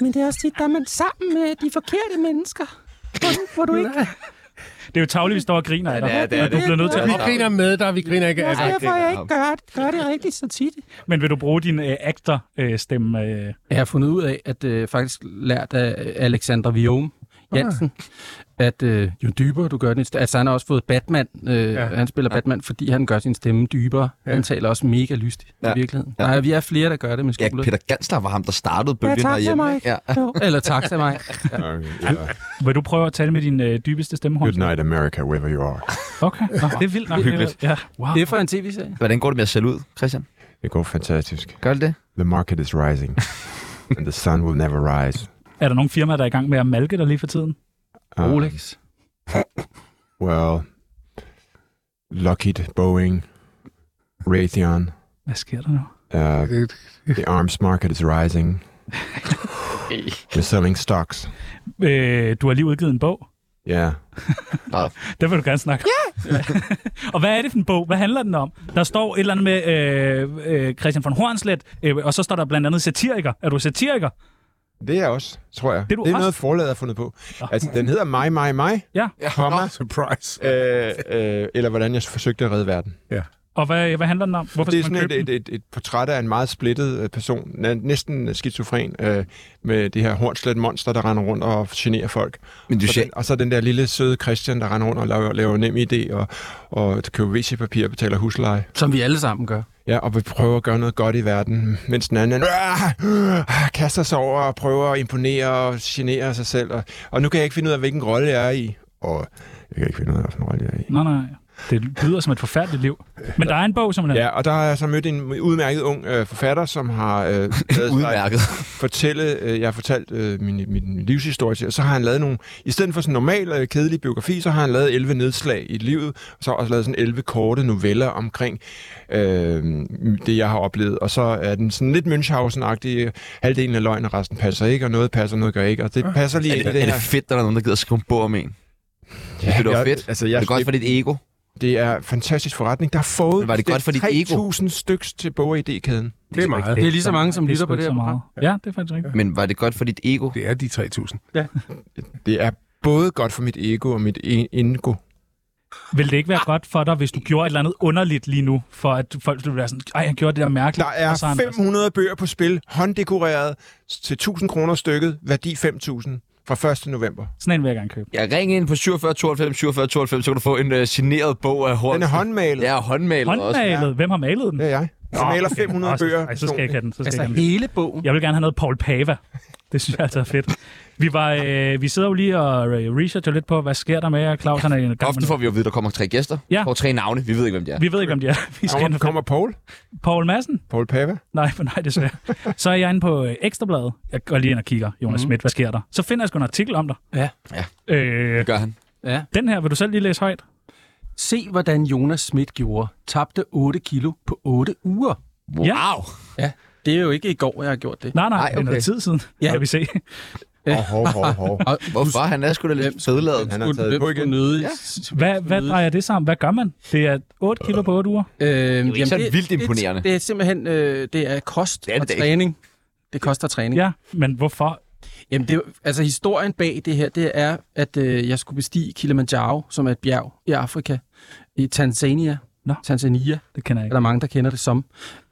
Speaker 6: Men det er også tit, der er man sammen med de forkerte mennesker. Hvor du ikke...
Speaker 2: Det er jo tavligt, vi står og griner af dig.
Speaker 3: Ja, det er det.
Speaker 2: men du bliver nødt til at
Speaker 5: Vi griner med dig, vi griner ikke af dig.
Speaker 3: derfor, jeg ikke
Speaker 6: gør, gør det rigtigt så tit.
Speaker 2: Men vil du bruge din øh, actor-stemme? Øh,
Speaker 6: Jeg har fundet ud af, at øh, faktisk lært af øh, Alexander Vium Jansen, at øh, jo dybere du gør den, altså han har også fået Batman, øh,
Speaker 5: Ja.
Speaker 6: ja. han spiller Batman, fordi han gør sin stemme dybere. Ja. Han taler også mega lystigt ja.
Speaker 3: Ja.
Speaker 6: i virkeligheden.
Speaker 3: Ja.
Speaker 6: Ja. Nej, vi er flere, der gør det med
Speaker 3: Ja,
Speaker 6: skole.
Speaker 3: Peter Gansler var ham, der startede bølgen ja, herhjemme. ikke? Ja.
Speaker 6: Eller tak til mig.
Speaker 4: Okay, yeah.
Speaker 2: vil du prøve at tale med din øh, dybeste stemme?
Speaker 4: Good
Speaker 2: Holm?
Speaker 4: night, America, wherever you are.
Speaker 2: Okay, Nå, det er vildt nok.
Speaker 3: Hyggeligt.
Speaker 2: Ja, wow.
Speaker 6: Det er for en tv-serie.
Speaker 3: Hvordan går det med at sælge ud, Christian?
Speaker 4: Det går fantastisk.
Speaker 3: Gør det det?
Speaker 4: The market is rising. And the sun will never rise.
Speaker 2: Er der nogle firmaer, der er i gang med at malke dig lige for tiden?
Speaker 3: Ah.
Speaker 4: Um,
Speaker 6: Rolex.
Speaker 4: Well, Lockheed, Boeing, Raytheon.
Speaker 2: Hvad sker der nu?
Speaker 4: Uh,
Speaker 5: Det-
Speaker 4: the arms market is rising. We're selling stocks.
Speaker 2: Øh, du har lige udgivet en bog.
Speaker 4: Yeah.
Speaker 2: Den vil du gerne snakke Ja! og hvad er det for en bog? Hvad handler den om? Der står et eller andet med øh, øh, Christian von Hornslet, øh, og så står der blandt andet satiriker. Er du satiriker?
Speaker 4: Det er også, tror jeg.
Speaker 2: Det er du
Speaker 4: det er
Speaker 2: også?
Speaker 4: noget, forlaget har fundet på.
Speaker 2: Nå.
Speaker 4: Altså, den hedder mig, mig, mig.
Speaker 2: Ja.
Speaker 4: Komma,
Speaker 5: Nå, surprise.
Speaker 4: øh, øh, eller hvordan jeg forsøgte at redde verden.
Speaker 2: Og hvad, hvad handler den om? Hvorfor
Speaker 4: det er
Speaker 2: skal
Speaker 4: sådan
Speaker 2: man
Speaker 4: et,
Speaker 2: købe
Speaker 4: et,
Speaker 2: den?
Speaker 4: et, et portræt af en meget splittet øh, person, næ- næsten skizofren, øh, med det her hornslet monster, der render rundt og generer folk.
Speaker 3: Men du
Speaker 4: Og,
Speaker 3: siger,
Speaker 4: den, og så den der lille søde Christian, der render rundt og laver, laver nem idé og, og køber WC-papir og betaler husleje.
Speaker 6: Som vi alle sammen gør.
Speaker 4: Ja, og vi prøver at gøre noget godt i verden, mens den anden øh, kaster sig over og prøver at imponere og genere sig selv. Og, og nu kan jeg ikke finde ud af, hvilken rolle jeg er i. Og jeg kan ikke finde ud af, hvilken rolle jeg er i.
Speaker 2: Nej, nej. Det lyder som et forfærdeligt liv. Men der er en bog, som
Speaker 4: Ja, og der har jeg så mødt en udmærket ung øh, forfatter, som har øh, lavet sig-
Speaker 3: udmærket.
Speaker 4: fortælle, øh, jeg har fortalt øh, min, min livshistorie til, og så har han lavet nogle, i stedet for sådan en normal øh, kedelig biografi, så har han lavet 11 nedslag i livet, og så har også lavet sådan 11 korte noveller omkring øh, det, jeg har oplevet. Og så er den sådan lidt Münchhausen-agtig, øh, halvdelen af løgn, og resten passer ikke, og noget passer, noget gør ikke, og det passer lige
Speaker 3: Ah. Er
Speaker 4: ind i
Speaker 3: det,
Speaker 4: det
Speaker 3: er
Speaker 4: her.
Speaker 3: det fedt, at der er nogen, der gider at skrive en bog om en? Ja, det var
Speaker 4: jeg-
Speaker 3: fedt.
Speaker 4: Altså,
Speaker 3: Er
Speaker 4: jeg,
Speaker 3: det godt for dit ego?
Speaker 4: det er fantastisk forretning. Der er
Speaker 3: Men
Speaker 4: fået
Speaker 3: var det godt for dit ego?
Speaker 4: 3.000 stykker til Bog ID-kæden.
Speaker 5: Det er meget.
Speaker 6: Det er lige så mange, som
Speaker 2: Det er
Speaker 6: lytter
Speaker 2: sgu
Speaker 6: på
Speaker 2: ikke
Speaker 6: det
Speaker 2: så
Speaker 6: her program.
Speaker 2: meget. Ja, det er faktisk rigtigt.
Speaker 3: Men var det godt for dit ego?
Speaker 5: Det er de 3.000.
Speaker 4: Det er både godt for mit ego og mit en- indgo.
Speaker 2: Vil det ikke være godt for dig, hvis du gjorde et eller andet underligt lige nu, for at folk ville være sådan, ej, han gjorde det der mærkeligt.
Speaker 4: Der
Speaker 2: og så har
Speaker 4: er
Speaker 2: han-
Speaker 4: 500 bøger på spil, hånddekoreret til 1000 kroner stykket, værdi 5.000 fra 1. november.
Speaker 2: Sådan en vil jeg gerne købe.
Speaker 3: Jeg ringer ind på 47 92 47 92, så kan du få en uh, signeret bog af Horst.
Speaker 4: Den er håndmalet.
Speaker 3: Ja, håndmalet, også.
Speaker 2: Håndmalet. Hvem har malet den?
Speaker 4: Det er jeg. Jeg maler 500
Speaker 2: Nå, så-
Speaker 4: bøger.
Speaker 2: Ej, så skal jeg ikke have den. Så skal
Speaker 6: Altså
Speaker 2: jeg, ikke have
Speaker 6: hele bogen.
Speaker 2: den. jeg vil gerne have noget Paul Pava. Det synes jeg altså er fedt. Vi, var, øh, vi sidder jo lige og øh, researcher lidt på, hvad sker der med jer, Claus? Han er i en gang
Speaker 3: Ofte
Speaker 2: med
Speaker 3: får vi jo at vide, at der kommer tre gæster.
Speaker 2: Ja.
Speaker 3: Får tre navne. Vi ved ikke, hvem de er.
Speaker 2: noget. Vi ved ikke, om de er. Vi skal
Speaker 4: Kommer,
Speaker 2: ind
Speaker 4: kommer Paul?
Speaker 2: Paul Madsen?
Speaker 4: Paul Pava?
Speaker 2: Nej, for nej, desværre. Så er jeg inde på øh, Ekstrabladet. Jeg går lige ind og kigger,
Speaker 3: Mhm.
Speaker 2: Jonas mm. Schmidt, hvad sker der? Så finder jeg sgu en artikel om dig.
Speaker 6: Ja.
Speaker 2: ja. Øh,
Speaker 3: Det gør han.
Speaker 6: Ja.
Speaker 2: den her vil du selv lige læse højt.
Speaker 6: Se, hvordan Jonas Schmidt gjorde. Tabte 8 kilo på 8 uger.
Speaker 3: Wow.
Speaker 2: Ja.
Speaker 6: Ja, det er jo ikke i går, jeg har gjort det.
Speaker 2: Nej, nej,
Speaker 3: Ej,
Speaker 2: okay. det er
Speaker 3: okay.
Speaker 2: noget tid siden, ja.
Speaker 6: Ja.
Speaker 2: kan vi se.
Speaker 4: Åh, hov, hov, hov.
Speaker 6: Og
Speaker 3: Hvorfor? Han er sgu da lidt sødladet.
Speaker 4: Han har taget på igen.
Speaker 6: Nøde,
Speaker 3: Ja.
Speaker 2: Hvad, hvad drejer det sammen? Hvad gør man? Det er 8
Speaker 3: Øh,
Speaker 2: kilo på 8 uger.
Speaker 6: Øhm, det er
Speaker 3: ikke sådan vildt imponerende.
Speaker 6: Det, det er simpelthen øh, det er kost
Speaker 3: Det
Speaker 6: det
Speaker 3: er
Speaker 6: er
Speaker 3: det
Speaker 6: og
Speaker 3: da ikke.
Speaker 6: træning. Det koster træning.
Speaker 2: Ja, men hvorfor?
Speaker 6: Jamen, det, er jo- altså historien bag det her, det er, at øh, jeg skulle bestige Kilimanjaro, som er et bjerg i Afrika, i Tanzania.
Speaker 2: Nå.
Speaker 6: Tanzania
Speaker 2: Det kender jeg
Speaker 6: er
Speaker 2: ikke.
Speaker 6: der mange, der kender det som.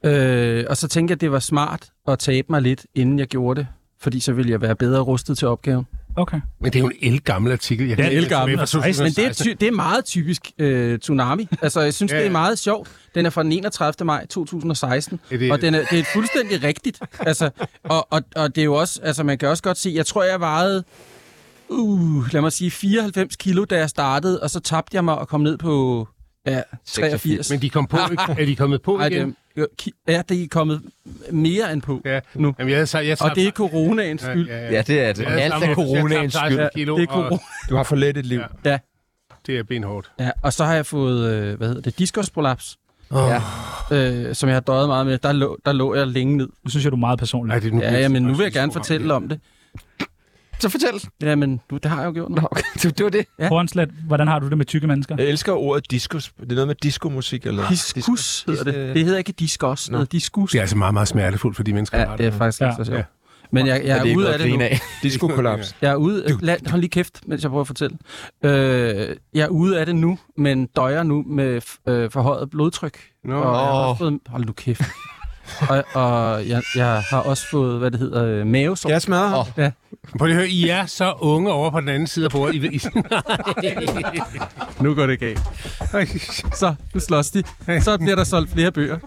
Speaker 6: Øh, og så tænkte jeg, at det var smart at tabe mig lidt, inden jeg gjorde det, fordi så ville jeg være bedre rustet til opgaven.
Speaker 2: Okay.
Speaker 5: Men det er jo en elgammel artikel. Jeg
Speaker 2: Ja,
Speaker 5: kan
Speaker 2: det er
Speaker 5: elgammel fra
Speaker 2: 2016.
Speaker 6: Men det er,
Speaker 5: 2016.
Speaker 6: ty- det er meget typisk øh, Tsunami. Altså, jeg synes,
Speaker 5: Ja,
Speaker 6: ja.
Speaker 5: ja.
Speaker 6: det er meget sjovt. Den er fra den 31. maj 2016,
Speaker 5: Ja, det er-
Speaker 6: og den er, det er fuldstændig rigtigt. Altså, og, og, og det er jo også, altså, man kan også godt se, jeg tror, jeg vejede, uh, lad mig sige, 94 kilo, da jeg startede, og så tabte jeg mig og kom ned på ja, 83.
Speaker 5: Men de kom på, er de kommet på
Speaker 6: Ej,
Speaker 5: igen?
Speaker 6: det er, ki- ja, det er kommet mere end på
Speaker 5: Ja.
Speaker 6: nu.
Speaker 5: Jamen, jeg havde, sagt- jeg
Speaker 6: Og det er
Speaker 5: tabte-
Speaker 6: coronaens
Speaker 5: Ja,
Speaker 6: skyld.
Speaker 5: ja, ja.
Speaker 3: Ja, det er det.
Speaker 5: Jeg havde
Speaker 3: Alt
Speaker 5: samme
Speaker 3: er
Speaker 5: operation, jeg
Speaker 3: coronaens
Speaker 5: tabte
Speaker 3: skyld.
Speaker 5: 16 kilo,
Speaker 6: Det er
Speaker 5: og
Speaker 6: corona.
Speaker 4: Du har for let et liv.
Speaker 5: Ja.
Speaker 6: Ja.
Speaker 5: Det er benhårdt.
Speaker 6: Ja, og så har jeg fået, øh, hvad hedder det, diskusprolaps,
Speaker 3: Ja.
Speaker 6: øh, som jeg har døjet meget med. Der lå, der lå jeg længe ned.
Speaker 2: Nu synes jeg, du er meget personlig.
Speaker 5: Ej, det er nu
Speaker 6: Ja, ja, men nu vil jeg gerne fortælle om det.
Speaker 3: Så fortæl.
Speaker 6: Ja, men du, det har jeg jo gjort nu.
Speaker 3: Nå, okay. Det, det var det.
Speaker 2: Ja. Hornslet, hvordan har du det med tykke mennesker?
Speaker 4: Jeg elsker ordet diskus. Det er noget med diskomusik, eller?
Speaker 6: Diskus hedder det. Det hedder ikke diskus, det
Speaker 4: Nå.
Speaker 6: hedder diskus.
Speaker 5: Det er altså meget, meget smertefuldt for de mennesker, der
Speaker 6: Ja,
Speaker 5: har
Speaker 6: det er faktisk ikke
Speaker 2: Ja.
Speaker 6: så sjovt. Men jeg,
Speaker 3: Og
Speaker 6: jeg
Speaker 3: det
Speaker 6: er
Speaker 3: ikke
Speaker 6: ude
Speaker 3: noget
Speaker 6: af
Speaker 3: at
Speaker 6: det nu.
Speaker 3: grine af.
Speaker 4: Diskokollaps.
Speaker 6: Jeg er ude... Lad, hold lige kæft, mens jeg prøver at fortælle. Øh, jeg er ude af det nu, men døjer nu med f- øh, forhøjet blodtryk.
Speaker 5: Nå.
Speaker 6: Og jeg har
Speaker 3: Åh.
Speaker 6: også fået... Hold nu kæft. og og jeg, jeg har også fået, hvad det hedder, øh, mavesår.
Speaker 4: Jeg smadrer ham.
Speaker 3: Åh.
Speaker 5: Prøv lige at høre, I er så unge over på den anden side af bordet. I, ved- I,
Speaker 6: Nu går det galt. Så, nu slås de. Så bliver der solgt flere bøger.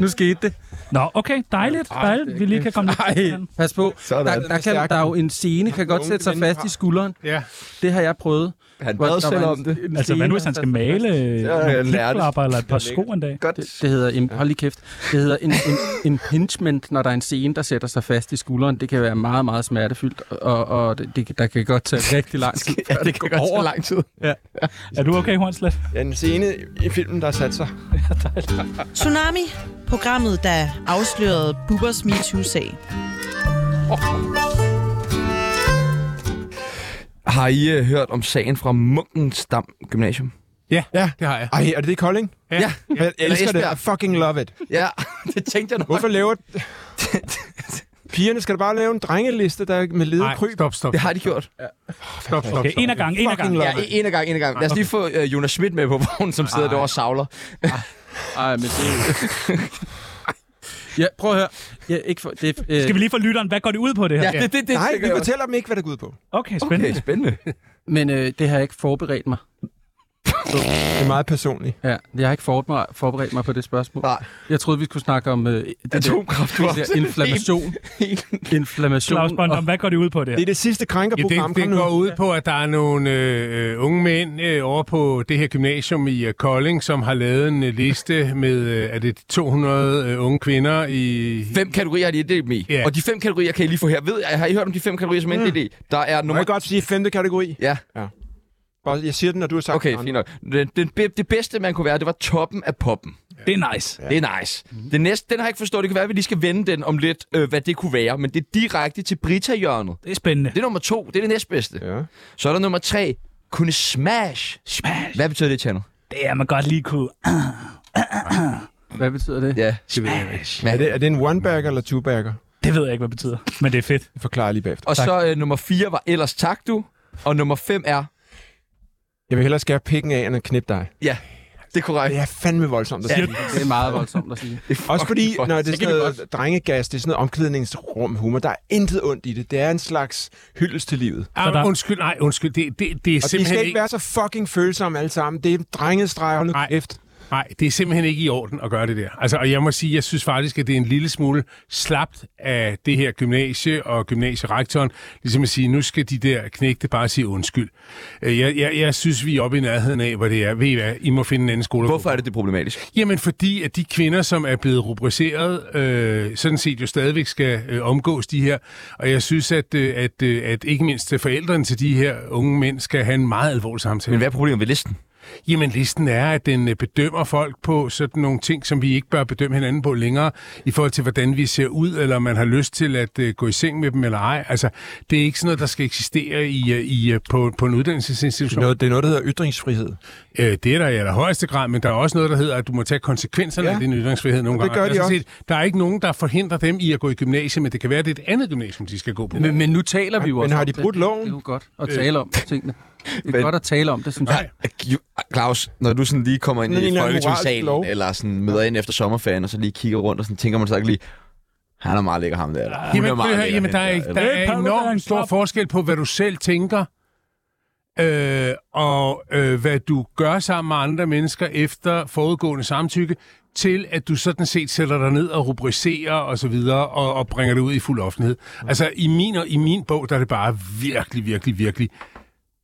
Speaker 6: nu skete det.
Speaker 2: Nå, okay, dejligt. Dejligt, vi lige kan komme lidt til hinanden.
Speaker 6: Pas på.
Speaker 3: Sådan.
Speaker 6: Der, der, kan, der er jo en scene, kan godt sætte sig fast i skulderen.
Speaker 5: ja.
Speaker 6: Det har jeg prøvet.
Speaker 3: Han
Speaker 6: Hvor
Speaker 3: bad
Speaker 6: der var
Speaker 3: selv
Speaker 6: en-
Speaker 3: om det.
Speaker 6: en
Speaker 2: Altså, hvad
Speaker 6: scene,
Speaker 2: nu, hvis han
Speaker 6: der
Speaker 2: skal
Speaker 6: satte sig
Speaker 2: male
Speaker 3: har jeg
Speaker 2: øh, nogle
Speaker 3: lært.
Speaker 2: klipklapper eller et par sko en dag?
Speaker 3: Godt.
Speaker 6: fast. Det, det hedder, im- hold lige kæft, det hedder en, en, impingement, når der er en scene, der sætter sig fast i skulderen. Det kan være meget, meget smertefyldt, og, og det, det, der kan godt tage rigtig lang tid.
Speaker 3: Ja, det kan godt tage lang tid.
Speaker 2: Er du okay, Hornslet?
Speaker 4: Ja, den scene i filmen, der har sat sig.
Speaker 7: Tsunami, programmet, der afslørede Bubbers MeToo-sag.
Speaker 3: Har I øh, hørt om sagen fra Munkensdam Gymnasium?
Speaker 5: Ja, ja, det har jeg.
Speaker 4: Ej, er det det Kolding?
Speaker 5: Ja. ja.
Speaker 4: Jeg elsker det.
Speaker 3: Esbjerg.
Speaker 4: I fucking love it.
Speaker 3: Ja, det tænkte jeg nok.
Speaker 4: Hvorfor laver... Pigerne skal da bare lave en drengeliste, der er med lede
Speaker 5: Ej,
Speaker 4: kryb.
Speaker 5: stop, stop.
Speaker 3: Det har de gjort.
Speaker 5: Stop, stop,
Speaker 2: Okay,
Speaker 5: stop.
Speaker 2: en af gang, en af gang.
Speaker 4: Fucking
Speaker 3: Ja,
Speaker 4: love it.
Speaker 3: en af gang, en af gang. Lad os lige få øh, Jonas Schmidt med på vognen, som sidder derovre og savler.
Speaker 6: Ej, men det... Ja, prøv at høre. Ja, ikke for, det, øh,
Speaker 2: Skal vi lige få lytteren, hvad går det ud på det her?
Speaker 3: Ja, det, det, det
Speaker 4: Nej,
Speaker 3: tænker
Speaker 4: vi
Speaker 3: jeg også.
Speaker 4: fortæller dem ikke, hvad det går ud på.
Speaker 2: Okay, spændende.
Speaker 3: Okay, spændende.
Speaker 6: Men øh, det har jeg ikke forberedt mig.
Speaker 4: Det er meget personligt.
Speaker 6: Ja, jeg har ikke forberedt mig, forberedt mig på det spørgsmål.
Speaker 3: Nej.
Speaker 6: Jeg troede, vi skulle snakke om øh, det der, det
Speaker 3: Atomkraft, du har
Speaker 6: der inflammation. inflammation.
Speaker 2: Claus
Speaker 6: og-
Speaker 2: Bondum, hvad går det ud på det
Speaker 4: Det
Speaker 2: her?
Speaker 4: er det sidste
Speaker 5: Ja,
Speaker 4: krænkerprogram.
Speaker 5: det, det går ud på, at der er nogle øh, øh, unge mænd øh, over på det her gymnasium i øh, Kolding, som har lavet en øh, liste med, øh, er det 200 øh, unge kvinder i...
Speaker 3: Fem kategorier har de inddelt dem i.
Speaker 5: Ja.
Speaker 3: Og de fem kategorier kan I lige få her. Ved, har I hørt om de fem kategorier, som er inddelt i? Der er
Speaker 4: Må
Speaker 3: nummer...
Speaker 4: jeg godt sige femte kategori?
Speaker 3: Ja,
Speaker 4: Bare- Jeg siger den, når du har sagt
Speaker 3: okay,
Speaker 4: den
Speaker 3: fint nok. Det, det, be- det bedste, man kunne være, det var toppen af poppen.
Speaker 2: Det er nice.
Speaker 3: Ja. Det er nice. Den næste, den har jeg ikke forstået. Det kan være, at vi lige skal vende den om lidt, øh, hvad det kunne være. Men det er direkte til Brita-hjørnet.
Speaker 2: Det er spændende.
Speaker 3: Det er nummer to. Det er det næstbedste.
Speaker 4: Ja.
Speaker 3: Så er der nummer tre. Kunne smash.
Speaker 2: Smash.
Speaker 3: Hvad betyder det, Channel?
Speaker 2: Det er man godt lige kunne.
Speaker 6: Hvad betyder det?
Speaker 3: Ja.
Speaker 2: Smash.
Speaker 4: Er det, er det en one-bagger eller two-bagger?
Speaker 2: Det ved jeg ikke, hvad det betyder. Men det er fedt.
Speaker 4: Jeg forklarer lige bagefter.
Speaker 3: Og så øh, nummer fire var ellers tak, du. Og nummer fem er...
Speaker 4: Jeg vil hellere skære pikken af, end at knippe dig.
Speaker 3: Det er korrekt.
Speaker 4: Det er fandme voldsomt at sige.
Speaker 6: Det er meget voldsomt at sige.
Speaker 4: Også fordi, når det er
Speaker 6: Det kan
Speaker 4: sådan
Speaker 6: vi
Speaker 4: noget drengegas, det er sådan noget omklædningsrum humor. Der er intet ondt i det. Det er en slags hyldest til livet.
Speaker 5: Ah,
Speaker 2: der-
Speaker 5: undskyld, nej, undskyld. Det, det, det er
Speaker 4: Og de
Speaker 5: simpelthen
Speaker 4: skal ikke være så fucking følsomme alle sammen. Det er drengestreg, hold nu
Speaker 5: Nej.
Speaker 4: kæft.
Speaker 5: Nej, det er simpelthen ikke i orden at gøre det der. Altså, og jeg må sige, jeg synes faktisk, at det er en lille smule slapt af det her gymnasie og gymnasierektoren, ligesom at sige, nu skal de der knægte bare sige undskyld. Øh, Jeg, jeg, jeg synes, vi er oppe i nærheden af, hvor det er. Ved I hvad? I må finde en anden skole. at gå
Speaker 3: Hvorfor er det det er problematisk?
Speaker 5: Jamen fordi, at de kvinder, som er blevet rubriceret, øh, sådan set jo stadigvæk skal øh, omgås de her. Og jeg synes, at, øh, at, øh, at ikke mindst forældrene til de her unge mænd skal have en meget alvorlig samtale.
Speaker 3: Men hvad er problemet ved listen?
Speaker 5: Jamen, listen er, at den øh, bedømmer folk på sådan nogle ting, som vi ikke bør bedømme hinanden på længere, i forhold til, hvordan vi ser ud, eller om man har lyst til at øh, gå i seng med dem eller ej. Altså, det er ikke sådan noget, der skal eksistere i, øh, i, øh, på, på en uddannelsesinstitution.
Speaker 4: Noget, det er noget, der hedder ytringsfrihed.
Speaker 5: Øh, det er der i allerhøjeste grad, men der er også noget, der hedder, at du må tage konsekvenserne ja.
Speaker 4: Ja.
Speaker 5: af din ytringsfrihed nogle
Speaker 4: Og det
Speaker 5: gange.
Speaker 4: gør de
Speaker 5: Jeg har
Speaker 4: også.
Speaker 5: set, der er ikke nogen, der forhindrer dem i at gå i gymnasiet, men det kan være, at det er et andet gymnasium, de skal gå på.
Speaker 6: Men, men nu taler vi jo også
Speaker 4: har
Speaker 6: om
Speaker 4: de
Speaker 6: det.
Speaker 4: brudt loven? Øh.
Speaker 6: Det er jo godt at tale om tingene. Det er
Speaker 3: Men-
Speaker 6: godt at tale om det, synes jeg.
Speaker 3: Claus, når du sådan lige kommer ind
Speaker 4: Sådan en
Speaker 3: i
Speaker 4: eller anden moralsk
Speaker 3: folketingssalen,
Speaker 4: lov.
Speaker 3: eller sådan møder ind efter sommerferien, og så lige kigger rundt, og sådan tænker man så ikke lige, Han er meget lækker, ham der. Eller? Hun
Speaker 5: Jamen,
Speaker 3: er
Speaker 5: prøv
Speaker 3: meget
Speaker 5: at høre,
Speaker 3: lækker,
Speaker 5: jamen der, er,
Speaker 3: hende
Speaker 5: ikke- der
Speaker 3: eller?
Speaker 5: er
Speaker 2: Paludan,
Speaker 5: enormt stor
Speaker 2: slap.
Speaker 5: forskel på, hvad du selv tænker, øh, og øh, hvad du gør sammen med andre mennesker efter forudgående samtykke, til at du sådan set sætter dig ned og rubricerer og så videre, og, og bringer det ud i fuld offentlighed. Altså, i min, og, i min bog, der er det bare virkelig, virkelig, virkelig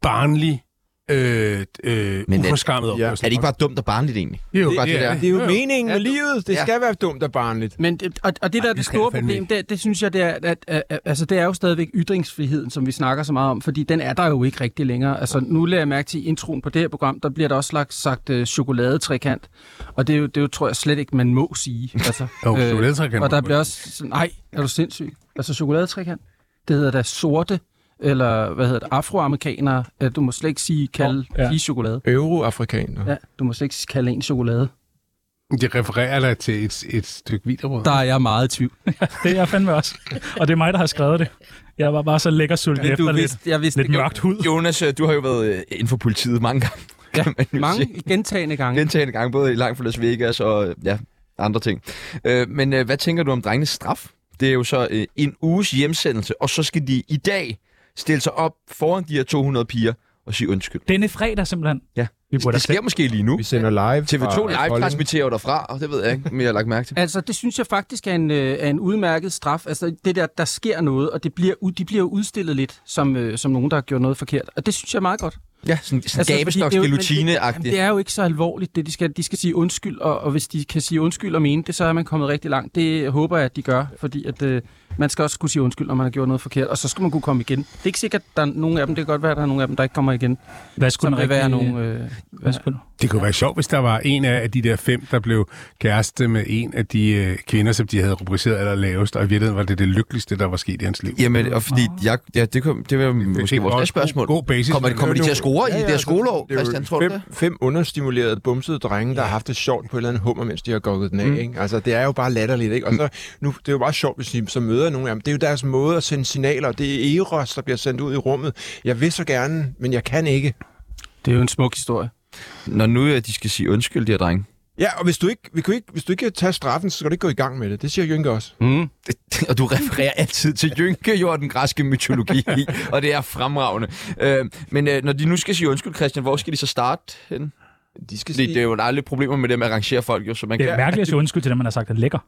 Speaker 5: barnlig, øh, øh,
Speaker 3: Men den-
Speaker 5: uforskammet
Speaker 4: ja.
Speaker 5: opførsel.
Speaker 3: Er det ikke bare dumt og barnligt egentlig?
Speaker 5: Jo,
Speaker 3: bare det der.
Speaker 4: Det er jo
Speaker 5: Jo.
Speaker 4: meningen med livet. Det
Speaker 3: Ja.
Speaker 4: skal være dumt og barnligt.
Speaker 6: Men, det- og, og det, der er det
Speaker 5: det skal
Speaker 6: store
Speaker 5: jeg fandme
Speaker 6: problem, det, det synes jeg, det er, at, at, at, altså, det er jo stadigvæk ytringsfriheden, som vi snakker så meget om, fordi den er der jo ikke rigtig længere. Altså, nu lader jeg mærke til i introen på det her program, der bliver der også lagt, sagt øh, chokoladetrikant, og det, er jo, det er jo, tror jeg slet ikke, man må sige. Altså,
Speaker 5: Jo, chokoladetrekant
Speaker 6: Og
Speaker 5: må
Speaker 6: der
Speaker 5: man
Speaker 6: bliver også sådan, nej, er du sindssyg? Altså, chokoladetrikant, det hedder da sorte, eller hvad hedder det, afroamerikanere. Øh, Du må slet ikke sige, kalde
Speaker 2: ja.
Speaker 6: ja. de chokolade.
Speaker 4: Euroafrikaner.
Speaker 6: Ja, du må slet ikke kalde en chokolade.
Speaker 5: Det refererer dig til et, et stykke videobrød.
Speaker 6: Der er jeg meget i tvivl.
Speaker 2: Det er jeg fandme også. Og det er mig, der har skrevet det. Jeg var bare så lækker sulten
Speaker 6: Men
Speaker 2: efter
Speaker 6: du
Speaker 2: lidt,
Speaker 6: vidste, jeg vidste
Speaker 2: lidt
Speaker 6: det godt.
Speaker 2: mørkt hud.
Speaker 3: Jonas, øh, du har jo været øh, inden for politiet mange gange.
Speaker 6: Ja,
Speaker 3: kan man jo sige.
Speaker 6: Mange gentagende gange.
Speaker 3: Gentagende gange, både i langt fra Las Vegas og øh, ja, andre ting. Øh, men øh, hvad tænker du om drengenes straf? Det er jo så øh, en uges hjemsendelse, og så skal de i dag stille sig op foran de her 200 piger og sige undskyld.
Speaker 2: Denne fredag simpelthen.
Speaker 3: Ja.
Speaker 2: Vi burde
Speaker 3: Det
Speaker 2: have
Speaker 3: sker måske lige nu.
Speaker 4: Vi sender live
Speaker 3: TV2
Speaker 4: fra
Speaker 3: live
Speaker 4: Kolding.
Speaker 3: transmitterer jo derfra, og det ved jeg ikke, men jeg har lagt mærke til.
Speaker 6: Altså, det synes jeg faktisk er en, øh, er en udmærket straf. Altså, det der, der sker noget, og det bliver, u- de bliver jo udstillet lidt som, øh, som nogen, der har gjort noget forkert. Og det synes jeg er meget godt.
Speaker 3: Ja, sådan, sådan
Speaker 6: Altså,
Speaker 3: altså,
Speaker 6: fordi
Speaker 3: gabestoks
Speaker 6: det er jo- men det- Jamen,
Speaker 3: gelutine-agtigt.
Speaker 6: det er jo ikke så alvorligt, det de skal. De skal sige undskyld, og, og hvis de kan sige undskyld og mene det, så er man kommet rigtig langt. Det håber jeg, at de gør, fordi at, øh, man skal også kunne sige undskyld, når man har gjort noget forkert, og så skal man kunne komme igen. Det er ikke sikkert, at der er nogen af dem, det kan godt være, at der er nogen af dem, der ikke kommer igen.
Speaker 2: Hvad
Speaker 6: Så
Speaker 2: skulle
Speaker 6: vil
Speaker 2: den
Speaker 6: rigtig... være
Speaker 2: rigtige-
Speaker 6: nogle... Øh,
Speaker 2: Hvad skulle
Speaker 5: Det kunne være sjovt, hvis der var en af de der fem, der blev kæreste med en af de øh, kvinder, som de havde rubriceret aller lavest, og i virkeligheden var det det lykkeligste, der var sket i hans liv.
Speaker 3: Jamen, og fordi jeg, ja, det, kunne, det var måske
Speaker 5: er
Speaker 3: vores
Speaker 5: også
Speaker 3: næste spørgsmål.
Speaker 5: god- god basis.
Speaker 3: Kommer, kommer de til at score i
Speaker 4: Ja, ja,
Speaker 3: det her
Speaker 4: altså,
Speaker 3: skoleår,
Speaker 4: det er jo
Speaker 3: Christian, tror du det?
Speaker 4: fem, fem understimulerede, bumsede drenge, der har haft det sjovt på et eller andet hummer, mens de har gokket den af. Mm. Ikke? Altså, det er jo bare latterligt. Ikke? Og så,
Speaker 3: Mm.
Speaker 4: nu, det er jo bare sjovt, hvis de så møder nogle af dem. Det er jo deres måde at sende signaler. Det er Eros, der bliver sendt ud i rummet. Jeg vil så gerne, men jeg kan ikke.
Speaker 6: det er jo en smuk historie.
Speaker 3: Når nu øh, de skal sige undskyld, de her drenge.
Speaker 4: Ja, og hvis du ikke, vi kunne ikke, hvis du ikke kan tage straffen, så skal du ikke gå i gang med det. Det siger Jynke også.
Speaker 3: Mm. og du refererer altid til Jynke, jo, og den græske mytologi, og det er fremragende. Øh, men øh, når de nu skal sige undskyld, Christian, hvor skal de så starte henne?
Speaker 4: De skal
Speaker 3: Fordi det er jo aldrig problemer med det med at arrangere folk, jo, så man
Speaker 2: Det
Speaker 3: kan...
Speaker 2: er mærkeligt at sige undskyld til dem, man har sagt, at lækker.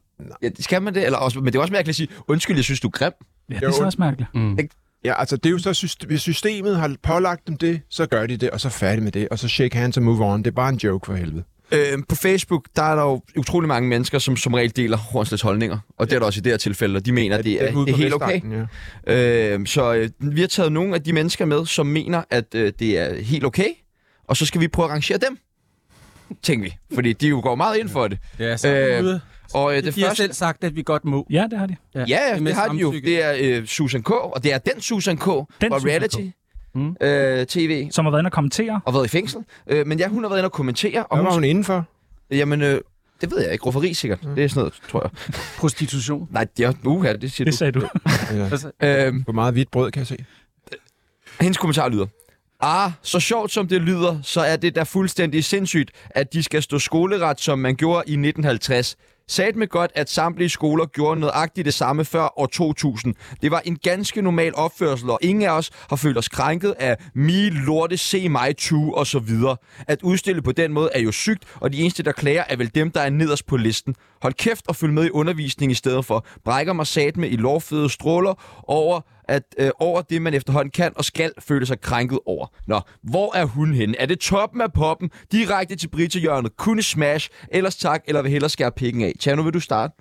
Speaker 3: Ja, skal man det? Eller også, men det er også mærkeligt at sige, undskyld, jeg synes, du er grim.
Speaker 2: Ja, det er så
Speaker 4: Jo.
Speaker 2: også mærkeligt.
Speaker 4: Ja, altså det er jo så, syst- hvis systemet har pålagt dem det, så gør de det, og så færdig med det, og så shake hands og move on. Det er bare en joke for helvede.
Speaker 3: Øh, på Facebook, der er der jo utrolig mange mennesker, som som regel deler Hornslæts holdninger. Og det er der også i det her tilfælde, og de mener, at det er,
Speaker 4: Den ude
Speaker 3: det er
Speaker 4: på
Speaker 3: helt okay.
Speaker 4: Vestegnen, Ja.
Speaker 3: Øh, så øh, vi har taget nogle af de mennesker med, som mener, at øh, det er helt okay, og så skal vi prøve at arrangere dem, tænker vi. Fordi de jo går meget ind for det.
Speaker 6: Ja, så
Speaker 3: Øh,
Speaker 6: øh,
Speaker 3: Og øh,
Speaker 6: det
Speaker 3: det
Speaker 6: de har
Speaker 3: første...
Speaker 6: selv sagt, at vi godt må.
Speaker 2: Ja, det har de.
Speaker 3: Ja,
Speaker 6: med
Speaker 3: det har de jo.
Speaker 6: samtykke.
Speaker 3: Det er øh, Susan K., og det er den Susan K. fra
Speaker 2: Susan K.
Speaker 3: reality
Speaker 6: Mm.
Speaker 3: øh, tv
Speaker 2: Som har været inde og kommentere.
Speaker 3: og været i fængsel. Øh, men ja, hun har været inde og kommentere. Og
Speaker 4: Hvad var
Speaker 3: hun,
Speaker 4: hun indenfor?
Speaker 3: jamen, øh, det ved jeg ikke. Rufferi sikkert. Det er sådan noget, tror jeg.
Speaker 6: Prostitution.
Speaker 3: Nej, det er uha, det siger
Speaker 2: Det
Speaker 3: du.
Speaker 2: sagde du.
Speaker 4: Ja.
Speaker 3: Øh,
Speaker 4: Hvor meget hvidt brød, kan jeg se.
Speaker 3: Hendes kommentar lyder, Ah, så sjovt som det lyder, så er det da fuldstændig sindssygt, at de skal stå skoleret, som man gjorde i 1950. Sagde med godt, at samtlige skoler gjorde nøjagtigt det samme før år 2000. Det var en ganske normal opførsel, og ingen af os har følt os krænket af me, lorte, se mig, tu og så videre. At udstille på den måde er jo sygt, og de eneste, der klager, er vel dem, der er nederst på listen. Hold kæft og følg med i undervisning i stedet for. Brækker mig sat med i lovfede stråler over at øh, over det, man efterhånden kan og skal føle sig krænket over. Nå, hvor er hun henne? Er det toppen af poppen, direkte til Britehjørnet, kunne smash, ellers tak, eller vil hellere skære pikken af? Tja, nu vil du starte.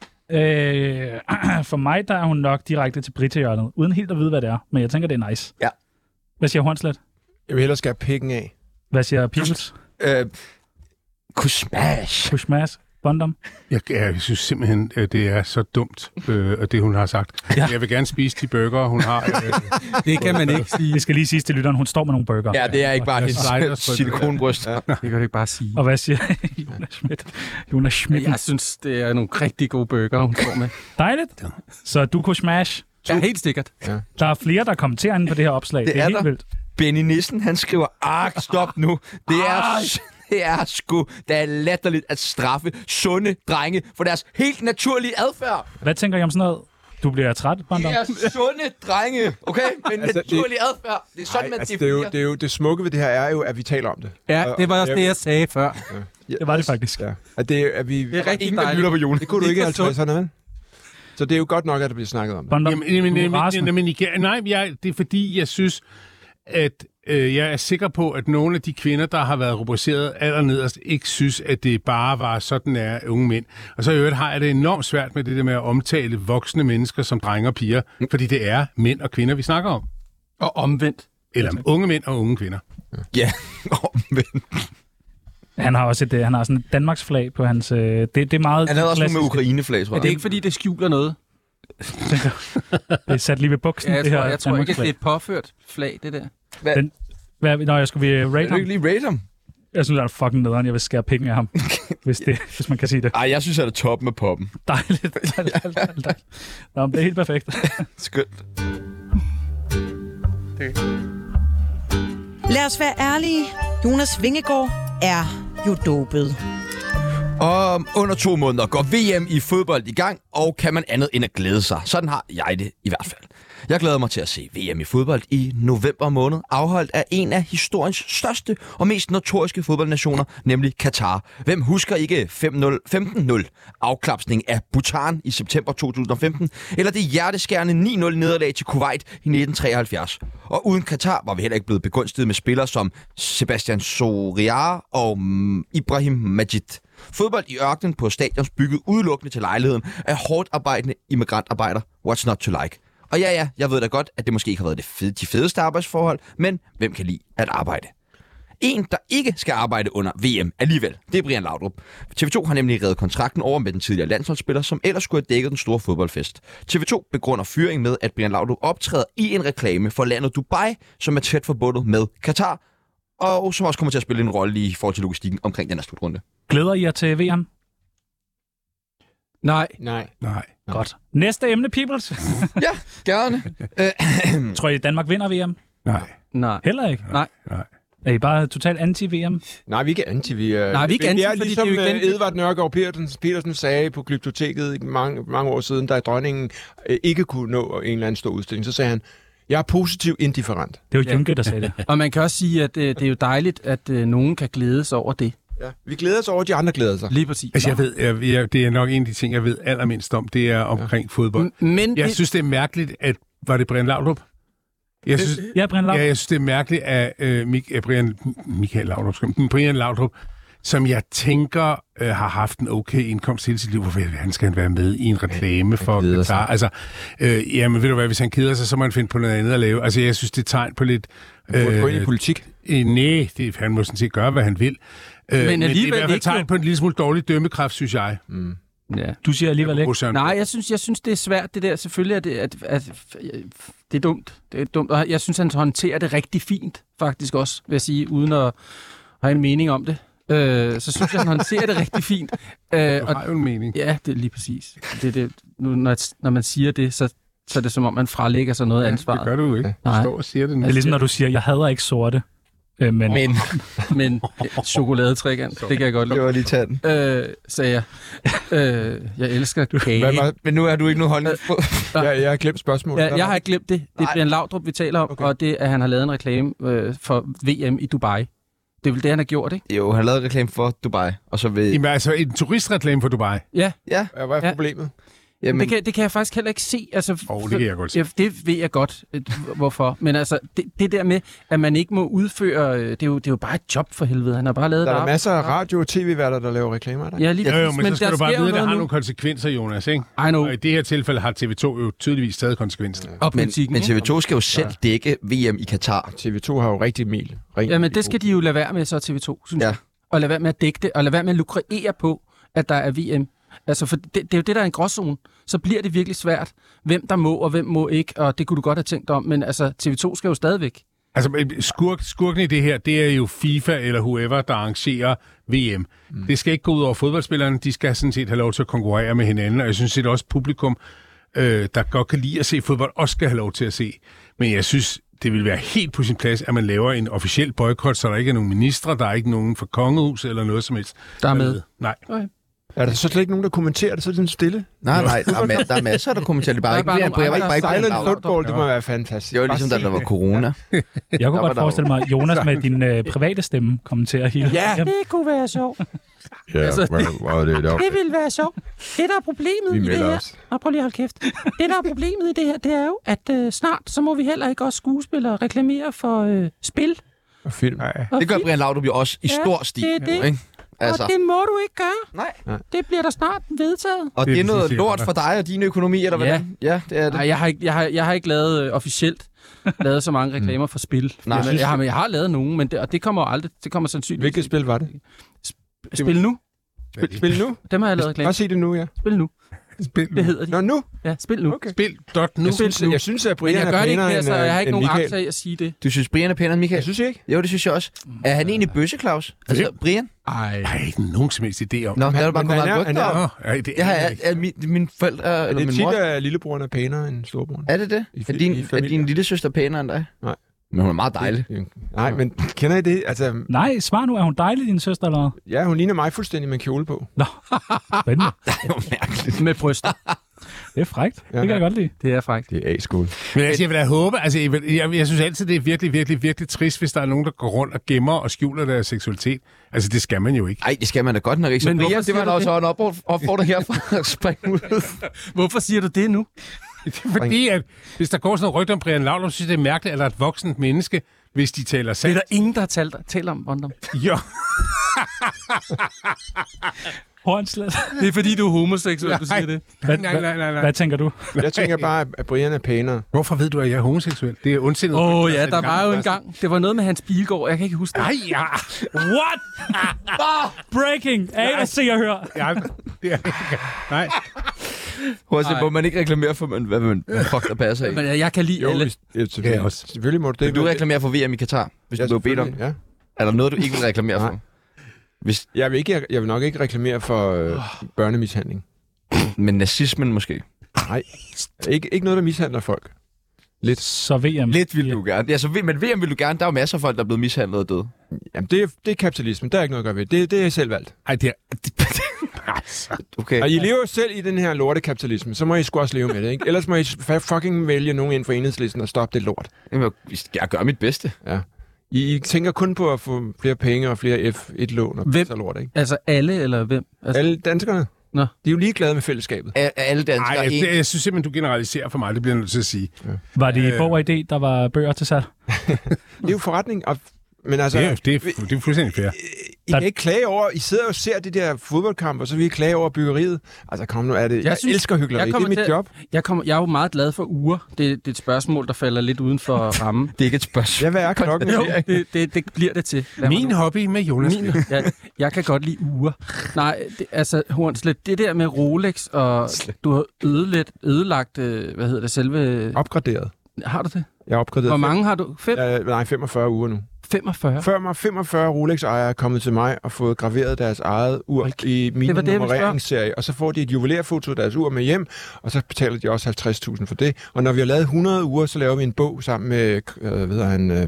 Speaker 2: Øh, for mig, der er hun nok direkte til Britahjørnet, uden helt at vide, hvad det er. Men jeg tænker, det er nice.
Speaker 3: Ja.
Speaker 2: Hvad siger Hornslet?
Speaker 4: Jeg vil hellere skære pikken af.
Speaker 2: Hvad siger Pibels?
Speaker 3: Øh, kunne smash.
Speaker 2: Push mass? Bondom?
Speaker 5: Jeg, jeg synes simpelthen, at det er så dumt, øh, og det hun har sagt. Ja. Jeg vil gerne spise de burger, hun har. Øh,
Speaker 6: Det kan man ikke sige.
Speaker 2: Vi skal lige sige til lytteren, hun står med nogle burger.
Speaker 3: Ja, det er ikke bare
Speaker 5: Jeg sejler
Speaker 3: hendes
Speaker 5: sgu.
Speaker 3: silikonbryst. Ja.
Speaker 6: Det kan du ikke bare sige.
Speaker 2: Og hvad siger Jonas Schmidt? Jonas Schmidt.
Speaker 6: Jeg synes, det er nogle rigtig gode bøger, hun får med.
Speaker 2: Dejligt. Så du kunne smash.
Speaker 6: Ja, helt sikkert.
Speaker 2: Der er flere, der kommenterer inde på det her opslag. Det,
Speaker 3: Det
Speaker 2: det er,
Speaker 3: er
Speaker 2: helt
Speaker 3: der.
Speaker 2: vildt.
Speaker 3: Benny Nissen, han skriver, ark, stop nu. Det er, det er sgu da latterligt at straffe sunde drenge for deres helt naturlige adfærd.
Speaker 2: Hvad tænker I om sådan noget? Du bliver træt, Brandon.
Speaker 3: er sunde drenge, okay? Men
Speaker 4: Altså, det- naturlig
Speaker 3: adfærd, det er
Speaker 4: Ej, altså, det, er jo, det, er jo, det smukke ved det her er jo, at vi taler om det.
Speaker 6: Ja,
Speaker 4: Og-
Speaker 6: det var også
Speaker 4: og-
Speaker 6: det, jeg sagde før.
Speaker 2: Det var det faktisk.
Speaker 4: Ja. At det, er- at vi,
Speaker 6: Det er rigtig
Speaker 3: Ingen, der
Speaker 6: dejligt.
Speaker 3: lytter på Jon.
Speaker 4: det kunne du ikke i
Speaker 6: Det er
Speaker 4: 50'erne, vel? Så det er jo godt nok, at der bliver snakket om det.
Speaker 2: Brandon,
Speaker 5: Jamen, jamen,
Speaker 2: du er
Speaker 5: jamen,
Speaker 2: rasende.
Speaker 5: jamen, jamen igen, nej, jeg, det er fordi, jeg synes, at øh, jeg er sikker på, at nogle af de kvinder, der har været rubriceret allernederst, ikke synes, at det bare var sådan er unge mænd. Og så i øvrigt har jeg det enormt svært med det der med at omtale voksne mennesker som drenge og piger,
Speaker 2: Mm.
Speaker 5: fordi det er mænd og kvinder, vi snakker om.
Speaker 6: Og omvendt.
Speaker 5: Eller unge mænd og unge kvinder.
Speaker 3: Ja, omvendt.
Speaker 2: Han har også et, øh, han har sådan et Danmarks flag på hans... Øh, det, det er meget
Speaker 3: Han havde også noget med
Speaker 2: klassisk.
Speaker 3: Ukraine-flag, tror
Speaker 6: Er
Speaker 3: jeg.
Speaker 6: det ikke, fordi det skjuler noget?
Speaker 2: Det er sat lige ved buksen,
Speaker 6: Ja, jeg
Speaker 2: det her
Speaker 6: tror, jeg tror ikke,
Speaker 2: Danmarks
Speaker 6: at det er et påført flag, det der.
Speaker 2: flag. Hvad, når jeg skulle vi uh, rate
Speaker 3: Kan du
Speaker 2: ham?
Speaker 3: ikke lige rate ham?
Speaker 2: Jeg synes, han er fucking nederen. Jeg vil skære penge af ham, hvis, det, hvis man kan sige
Speaker 6: Ah.
Speaker 2: det.
Speaker 3: Ej, jeg synes, han er toppen af poppen.
Speaker 2: Dejligt. dejligt, dejligt, dejligt. Nå, men det er helt perfekt.
Speaker 3: Skønt.
Speaker 7: Lad os være ærlige. Jonas Vingegaard er jo dopet.
Speaker 3: Om under to måneder går VM i fodbold i gang, og kan man andet end at glæde sig. Sådan har jeg det i hvert fald. Jeg glæder mig til at se VM i fodbold i november måned, afholdt af en af historiens største og mest notoriske fodboldnationer, nemlig Katar. Hvem husker ikke 5-0 15-0 afklapsning af Bhutan i september 2015, eller det hjerteskærende 9-0 nederlag til Kuwait i 1973? Og uden Katar var vi heller ikke blevet begunstiget med spillere som Sebastian Soriar og mm, Ibrahim Majid. Fodbold i ørkenen på stadions bygget udelukkende til lejligheden af hårdt arbejdende immigrantarbejdere. What's not to like? Og ja, ja, jeg ved da godt, at det måske ikke har været det fede, de fedeste arbejdsforhold, men hvem kan lide at arbejde? En, der ikke skal arbejde under VM alligevel, det er Brian Laudrup. TV2 har nemlig reddet kontrakten over med den tidligere landsholdsspiller, som ellers skulle have dækket den store fodboldfest. TV2 begrunder fyring med, at Brian Laudrup optræder i en reklame for landet Dubai, som er tæt forbundet med Katar, og som også kommer til at spille en rolle i forhold til logistikken omkring den her slutrunde.
Speaker 2: Glæder I jer til VM?
Speaker 6: Nej,
Speaker 4: Nej.
Speaker 5: Nej.
Speaker 2: Godt. Næste emne, peoples.
Speaker 3: Ja, gerne. Øh,
Speaker 2: Tror I, Danmark vinder VM?
Speaker 5: Nej.
Speaker 6: nej.
Speaker 2: Heller ikke.
Speaker 6: Nej.
Speaker 5: Nej.
Speaker 2: Er I bare totalt anti-VM?
Speaker 4: Nej, vi er ikke anti. Vi, øh,
Speaker 6: Nej, vi er ikke anti,
Speaker 4: vi er
Speaker 6: fordi
Speaker 4: ligesom
Speaker 6: det er jo igen-
Speaker 4: øh, Edvard Nørgaard Petersen, Petersen sagde på Glyptoteket mange, mange år siden, da dronningen øh, ikke kunne nå en eller anden stor udstilling, så sagde han, jeg er positiv indifferent.
Speaker 2: Det var Junke, der sagde det.
Speaker 6: Og man kan også sige, at øh, det er jo dejligt, at øh, nogen kan glædes over det.
Speaker 4: Ja. Vi glæder os over, at de andre glæder sig.
Speaker 6: Lige præcis.
Speaker 5: Altså, jeg ved, jeg, jeg, det er nok en af de ting, jeg ved allermindst om, det er omkring fodbold.
Speaker 6: M- Men
Speaker 5: Jeg
Speaker 6: det-
Speaker 5: synes, det er mærkeligt, at... Var det Brian Laudrup? Jeg synes,
Speaker 2: Ja, Brian Laudrup.
Speaker 5: Ja, jeg synes, det er mærkeligt, at øh, Mik- øh, Brian, Michael Laudrup, skal- mm, Brian Laudrup, som jeg tænker øh, har haft en okay indkomst hele sit liv, hvorfor i alverden skal han være med i en reklame for
Speaker 4: keder sig.
Speaker 5: Qatar? Altså, øh, jamen ved du hvad, hvis han keder sig, så må han finde på noget andet at lave. Altså, jeg synes, det er et tegn på lidt...
Speaker 4: Øh, gå ind i politik.
Speaker 5: Øh, nej, det, han må sådan set gøre, hvad han vil. Øh, men, men det er i
Speaker 6: alligevel
Speaker 5: hvert fald
Speaker 6: ikke
Speaker 5: tegn
Speaker 6: jo.
Speaker 5: på en lille smule dårlig dømmekraft, synes jeg.
Speaker 6: Ja.
Speaker 2: Du siger alligevel ikke.
Speaker 5: Rusland.
Speaker 6: Nej, jeg synes, jeg synes, det er svært, det der. Selvfølgelig er det, at, at, at, det er dumt. Det er dumt, og jeg synes, han håndterer det rigtig fint, faktisk også, vil jeg sige, uden at have en mening om det. Øh, så synes jeg, han håndterer det rigtig fint. Øh,
Speaker 5: Du
Speaker 6: og,
Speaker 5: har jo en mening.
Speaker 6: ja, det er lige præcis. Det, det, nu, når, når man siger det, så, så er det som om, man fralægger sig noget af
Speaker 5: Det
Speaker 6: ansvaret.
Speaker 5: gør du jo ikke. Du
Speaker 6: Nej.
Speaker 5: står og siger det nu.
Speaker 2: Det er ligesom, når du siger, jeg hader ikke sorte. Øh, men, men
Speaker 6: Men øh, chokoladetrækant, det kan jeg godt lide.
Speaker 3: var lige tanden.
Speaker 6: Øh, sagde jeg. Øh, jeg elsker
Speaker 4: Hvad
Speaker 6: kage.
Speaker 4: var,
Speaker 3: Men nu har du ikke nogen holdning på.
Speaker 4: jeg, jeg har glemt spørgsmålet.
Speaker 6: Ja, jeg har ikke glemt det. Det er Brian Laudrup, vi taler om, okay. og det er, at han har lavet en reklame øh, for VM i Dubai. Det er vel det, han har gjort, ikke?
Speaker 3: jo, han lavede reklame for Dubai, og så ved...
Speaker 5: Jamen, altså, en turistreklame for Dubai.
Speaker 3: Ja,
Speaker 4: Ja, Hvad er
Speaker 6: Ja.
Speaker 4: problemet?
Speaker 6: Jamen.
Speaker 3: jamen,
Speaker 6: Det, kan, det kan jeg faktisk heller ikke se. Altså,
Speaker 5: Åh, oh, det kan jeg godt se.
Speaker 6: Ja, det ved jeg godt, øh, hvorfor. Men altså, det, det der med, at man ikke må udføre... øh, Det er, jo, det er jo bare et job for helvede. Han har bare lavet
Speaker 4: Der er
Speaker 6: et
Speaker 4: der masser af radio- og tv-værter, der laver reklamer af dig.
Speaker 6: Ja, lige
Speaker 5: Ja,
Speaker 6: præcis.
Speaker 5: jo, jo, men, men så skal
Speaker 6: Altså, der
Speaker 5: du bare
Speaker 6: sker jo
Speaker 5: vide, at det
Speaker 6: noget
Speaker 5: har
Speaker 6: nu.
Speaker 5: nogle konsekvenser, Jonas, ikke?
Speaker 6: I know.
Speaker 5: Og i det her tilfælde har TV2 jo tydeligvis taget konsekvenser.
Speaker 6: Og
Speaker 3: men,
Speaker 6: politikken,
Speaker 3: men
Speaker 6: ikke?
Speaker 3: TV2 skal jo selv dække VM i Katar.
Speaker 4: TV2 har jo rigtig mel.
Speaker 6: Jamen, det skal de jo lade være med, så TV2, synes
Speaker 3: Ja.
Speaker 6: ja. jeg. Og lade være med at dække det, og lade være med at lukrere på, at der er VM. Altså, for det, det er jo det, der er en gråzone. Så bliver det virkelig svært, hvem der må og hvem må ikke, og det kunne du godt have tænkt om, men altså, TV2 skal jo stadigvæk.
Speaker 5: Altså, men skurk, skurken i det her, det er jo FIFA eller whoever, der arrangerer VM. Mm. Det skal ikke gå ud over fodboldspillerne. De skal sådan set have lov til at konkurrere med hinanden, og jeg synes set også, publikum, øh, der godt kan lide at se fodbold, også skal have lov til at se. Men jeg synes, det vil være helt på sin plads, at man laver en officiel boykot, så der ikke er nogen ministre, der er ikke nogen fra kongehus eller noget som helst.
Speaker 6: Der er med.
Speaker 5: Nej.
Speaker 4: Er der så slet ikke nogen, der kommenterer det, så er det sådan stille?
Speaker 3: Nej, nej, der er, ma- der er masser, der kommenterer det. Bare
Speaker 6: Der er
Speaker 3: ikke
Speaker 6: bare
Speaker 3: Brian,
Speaker 6: nogle
Speaker 3: Brian,
Speaker 6: andre,
Speaker 3: Brian,
Speaker 6: der
Speaker 3: Brian, Brian,
Speaker 4: Silent
Speaker 3: Laud.
Speaker 4: football, det må være fantastisk.
Speaker 3: Det var ligesom, da
Speaker 4: Bare
Speaker 3: der
Speaker 4: sig
Speaker 3: var corona.
Speaker 2: Jeg kunne
Speaker 3: var
Speaker 2: godt
Speaker 3: der jo-
Speaker 2: forestille mig, Jonas med din øh, private stemme kommenterer hele.
Speaker 4: Ja.
Speaker 2: Jamen,
Speaker 8: Det kunne være sjovt.
Speaker 9: Ja,
Speaker 6: Altså,
Speaker 9: altså, meget, meget det, det,
Speaker 8: Det ville være sjovt. Det, der er problemet
Speaker 4: Vi
Speaker 8: i det
Speaker 4: melder
Speaker 8: her...
Speaker 4: os.
Speaker 8: Og prøv lige at holde kæft. Det, der er problemet i det her, det er jo, at øh, snart så må vi heller ikke også skuespillere reklamere for øh, spil.
Speaker 4: Og film. Nej.
Speaker 8: Og
Speaker 3: Det gør
Speaker 8: film.
Speaker 3: Brian Laudrup jo også i
Speaker 8: Ja,
Speaker 3: stor stil.
Speaker 8: det er det.
Speaker 3: Ikke? Altså,
Speaker 8: Og det må du ikke gøre.
Speaker 3: Nej.
Speaker 8: Det bliver der snart vedtaget.
Speaker 3: og det er
Speaker 5: Det er
Speaker 3: noget
Speaker 5: præcis,
Speaker 3: lort
Speaker 5: det er.
Speaker 3: for dig og din økonomi, eller
Speaker 6: Ja.
Speaker 3: hvordan? Ja, det er det.
Speaker 6: Nej, jeg har ikke, jeg har, jeg har ikke lavet øh, officielt lavet så mange reklamer for spil.
Speaker 3: Mm. Nej.
Speaker 6: jeg, jeg, har, men jeg har lavet nogen, men det, og det kommer jo aldrig, det kommer sandsynligt.
Speaker 4: Hvilket spil var det?
Speaker 6: Spil nu.
Speaker 4: Spil, spil nu?
Speaker 6: Dem har jeg lavet reklamer.
Speaker 4: Bare sig det nu, ja.
Speaker 6: Spil nu. Det hedder de.
Speaker 4: Nå, nu?
Speaker 6: Ja, spil nu.
Speaker 4: Okay.
Speaker 5: Spil dot nu.
Speaker 4: Jeg synes, jeg synes at
Speaker 6: Men
Speaker 4: Brian
Speaker 6: jeg gør
Speaker 4: er
Speaker 6: det ikke
Speaker 4: pænere
Speaker 6: mere,
Speaker 4: end,
Speaker 6: så jeg har
Speaker 4: øh,
Speaker 6: ikke
Speaker 4: end
Speaker 6: nogen
Speaker 4: Michael.
Speaker 6: aktier i at sige det.
Speaker 3: Du synes, Brian er pænere end
Speaker 4: Jeg
Speaker 3: Michael?
Speaker 4: synes ikke.
Speaker 3: Jo, det synes jeg også. Er han egentlig bøsse, Claus? Altså, Brian?
Speaker 6: Ej.
Speaker 5: Jeg har ikke nogen som helst idé om.
Speaker 3: Nå, der er
Speaker 4: han-
Speaker 3: du bare
Speaker 4: men
Speaker 3: kommet
Speaker 4: han er-
Speaker 3: langt rygter
Speaker 4: han
Speaker 3: om.
Speaker 5: Nå, ej, det
Speaker 3: Jeg har,
Speaker 5: er
Speaker 3: er,
Speaker 5: ikke.
Speaker 3: er, min- mine forældre,
Speaker 4: Er det
Speaker 3: eller min mor...
Speaker 4: tit, at lillebroren er pænere end storebroren?
Speaker 3: Er det det?
Speaker 4: I
Speaker 3: Er
Speaker 4: fi-
Speaker 3: din,
Speaker 4: i
Speaker 3: er
Speaker 4: familie?
Speaker 3: din lille søster pænere end dig?
Speaker 4: Nej.
Speaker 3: Men hun er meget dejlig.
Speaker 4: Nej, men kender I det? Altså,
Speaker 2: nej, svar nu. Er hun dejlig, din søster, eller hvad?
Speaker 4: ja, hun ligner mig fuldstændig med en kjole på.
Speaker 2: Nå, spændende.
Speaker 6: Med bryster.
Speaker 2: Det er frægt. Det kan jeg godt lide.
Speaker 6: Det er faktisk.
Speaker 4: Det er A-skole.
Speaker 5: Men altså, jeg vil da håbe, altså, jeg, vil- jeg, jeg, synes altid, det er virkelig, virkelig, virkelig trist, hvis der er nogen, der går rundt og gemmer og skjuler deres seksualitet. Altså, det skal man jo ikke.
Speaker 3: Ej, det skal man da godt nok ikke. Så
Speaker 6: Men hvorfor
Speaker 3: Brian, det var
Speaker 6: siger
Speaker 3: da
Speaker 6: du
Speaker 3: også en opfordring- opfordring herfra at springe ud.
Speaker 6: Hvorfor siger du det nu?
Speaker 5: Fordi at, hvis der går sådan noget rygte om Brian Laudrup, så synes jeg, det er mærkeligt, at der er et voksent menneske, hvis de taler
Speaker 6: Det er
Speaker 5: sandt.
Speaker 6: der ingen, der har talt, talt om, Vondom.
Speaker 5: Jo,
Speaker 2: Hornslet.
Speaker 6: Det er fordi, du er homoseksuel, du siger det.
Speaker 5: nej, nej, nej, nej, nej.
Speaker 2: Hvad tænker du?
Speaker 4: Jeg tænker bare, at Brian er pænere.
Speaker 5: Hvorfor ved du, at jeg er homoseksuel? Det er ondsindet.
Speaker 6: Åh oh, ja, der var jo en gang. Det var noget med Hans Bilgaard, jeg kan ikke huske det.
Speaker 5: Nej, ja.
Speaker 2: What? Breaking. Af og se og hør.
Speaker 5: ja. Det er ikke. Nej.
Speaker 3: Prøv at se, må man ikke reklamere for, men hvad man fuck, der passer i.
Speaker 6: Men øh, jeg, jeg kan lide alle.
Speaker 4: Ja,
Speaker 5: Ja,
Speaker 4: selvfølgelig.
Speaker 5: også.
Speaker 4: Selvfølgelig må du det.
Speaker 3: Vil du reklamere for VM i Katar, hvis du
Speaker 4: Ja,
Speaker 3: blev bedt om?
Speaker 4: selvfølgelig, Ja.
Speaker 3: Er der noget, du ikke vil reklamere for? Hvis,
Speaker 4: Jeg vil, ikke, jeg vil nok ikke reklamere for øh, børnemishandling.
Speaker 3: men nazismen måske?
Speaker 4: Nej. Ikke, ikke noget, der mishandler folk.
Speaker 2: Så VM.
Speaker 3: Lidt vil du gerne. Ja, så, V- men VM vil du gerne. Der er jo masser af folk, der er blevet mishandlet og døde.
Speaker 4: Jamen, det, er- det er kapitalismen. Der er ikke noget at gøre ved. Det, det er jeg selv valgt.
Speaker 5: Ej, det er...
Speaker 3: Okay.
Speaker 4: Og I lever selv i den her lorte kapitalisme. Så må I sgu også leve med det, ikke? Ellers må I fa- fucking vælge nogen ind for enhedslisten og stoppe det lort.
Speaker 3: Jamen, jeg- jeg gør mit bedste.
Speaker 4: I, I tænker kun på at få flere penge og flere F1-lån og
Speaker 6: Hvem?
Speaker 4: så lort, ikke?
Speaker 6: Altså alle, eller hvem? Altså,
Speaker 4: Alle danskerne.
Speaker 6: Nå.
Speaker 4: De er jo ligeglade med fællesskabet.
Speaker 3: Er, er alle
Speaker 5: Ej,
Speaker 3: danskere
Speaker 5: jeg,
Speaker 3: en?
Speaker 5: det, jeg synes simpelthen, du generaliserer for mig. Det bliver jeg nødt til at sige.
Speaker 2: Var det i Bog og Idé, der var bøger til salg?
Speaker 4: Det er jo forretning. Og, men altså,
Speaker 5: Det er, det er, det er fuldstændig fair.
Speaker 4: I kan ikke klage over... I sidder og ser de der fodboldkampe, og så vil I klage over byggeriet. Altså, kom nu, er det... Jeg, jeg
Speaker 6: synes-
Speaker 4: synes, elsker hyggeleri.
Speaker 6: jeg
Speaker 4: Det er
Speaker 6: kommer
Speaker 4: mit
Speaker 6: til-
Speaker 4: job.
Speaker 6: jeg, kommer, jeg er jo meget glad for uger. Det, det er et spørgsmål, der falder lidt uden for rammen.
Speaker 3: Det er ikke et spørgsmål.
Speaker 4: Ja, hvad er klokken?
Speaker 6: Jo, det, det, det bliver det til. Lad mig
Speaker 5: Min
Speaker 6: nu-
Speaker 5: hobby med Jonas.
Speaker 6: Min, ja, jeg kan godt lide uger. Nej, det, altså Hornslet, det der med Rolex, og du har ødelagt, ødelagt øh, hvad hedder det, selve...
Speaker 4: Opgraderet.
Speaker 6: Har du det?
Speaker 4: Jeg er opgraderet.
Speaker 6: Hvor mange har du? 5? Ja.
Speaker 4: Øh, nej, 45 uger nu.
Speaker 6: 45?
Speaker 4: Før mig 45 Rolex-ejere er kommet til mig og fået graveret deres eget ur
Speaker 6: Hold
Speaker 4: i min
Speaker 6: det var det, jeg ville
Speaker 4: nummereringsserie. Og så får de et juvelerfoto af deres ur med hjem, og så betaler de også 50.000 for det. Og når vi har lavet 100 uger, så laver vi en bog sammen med øh, ved han, øh,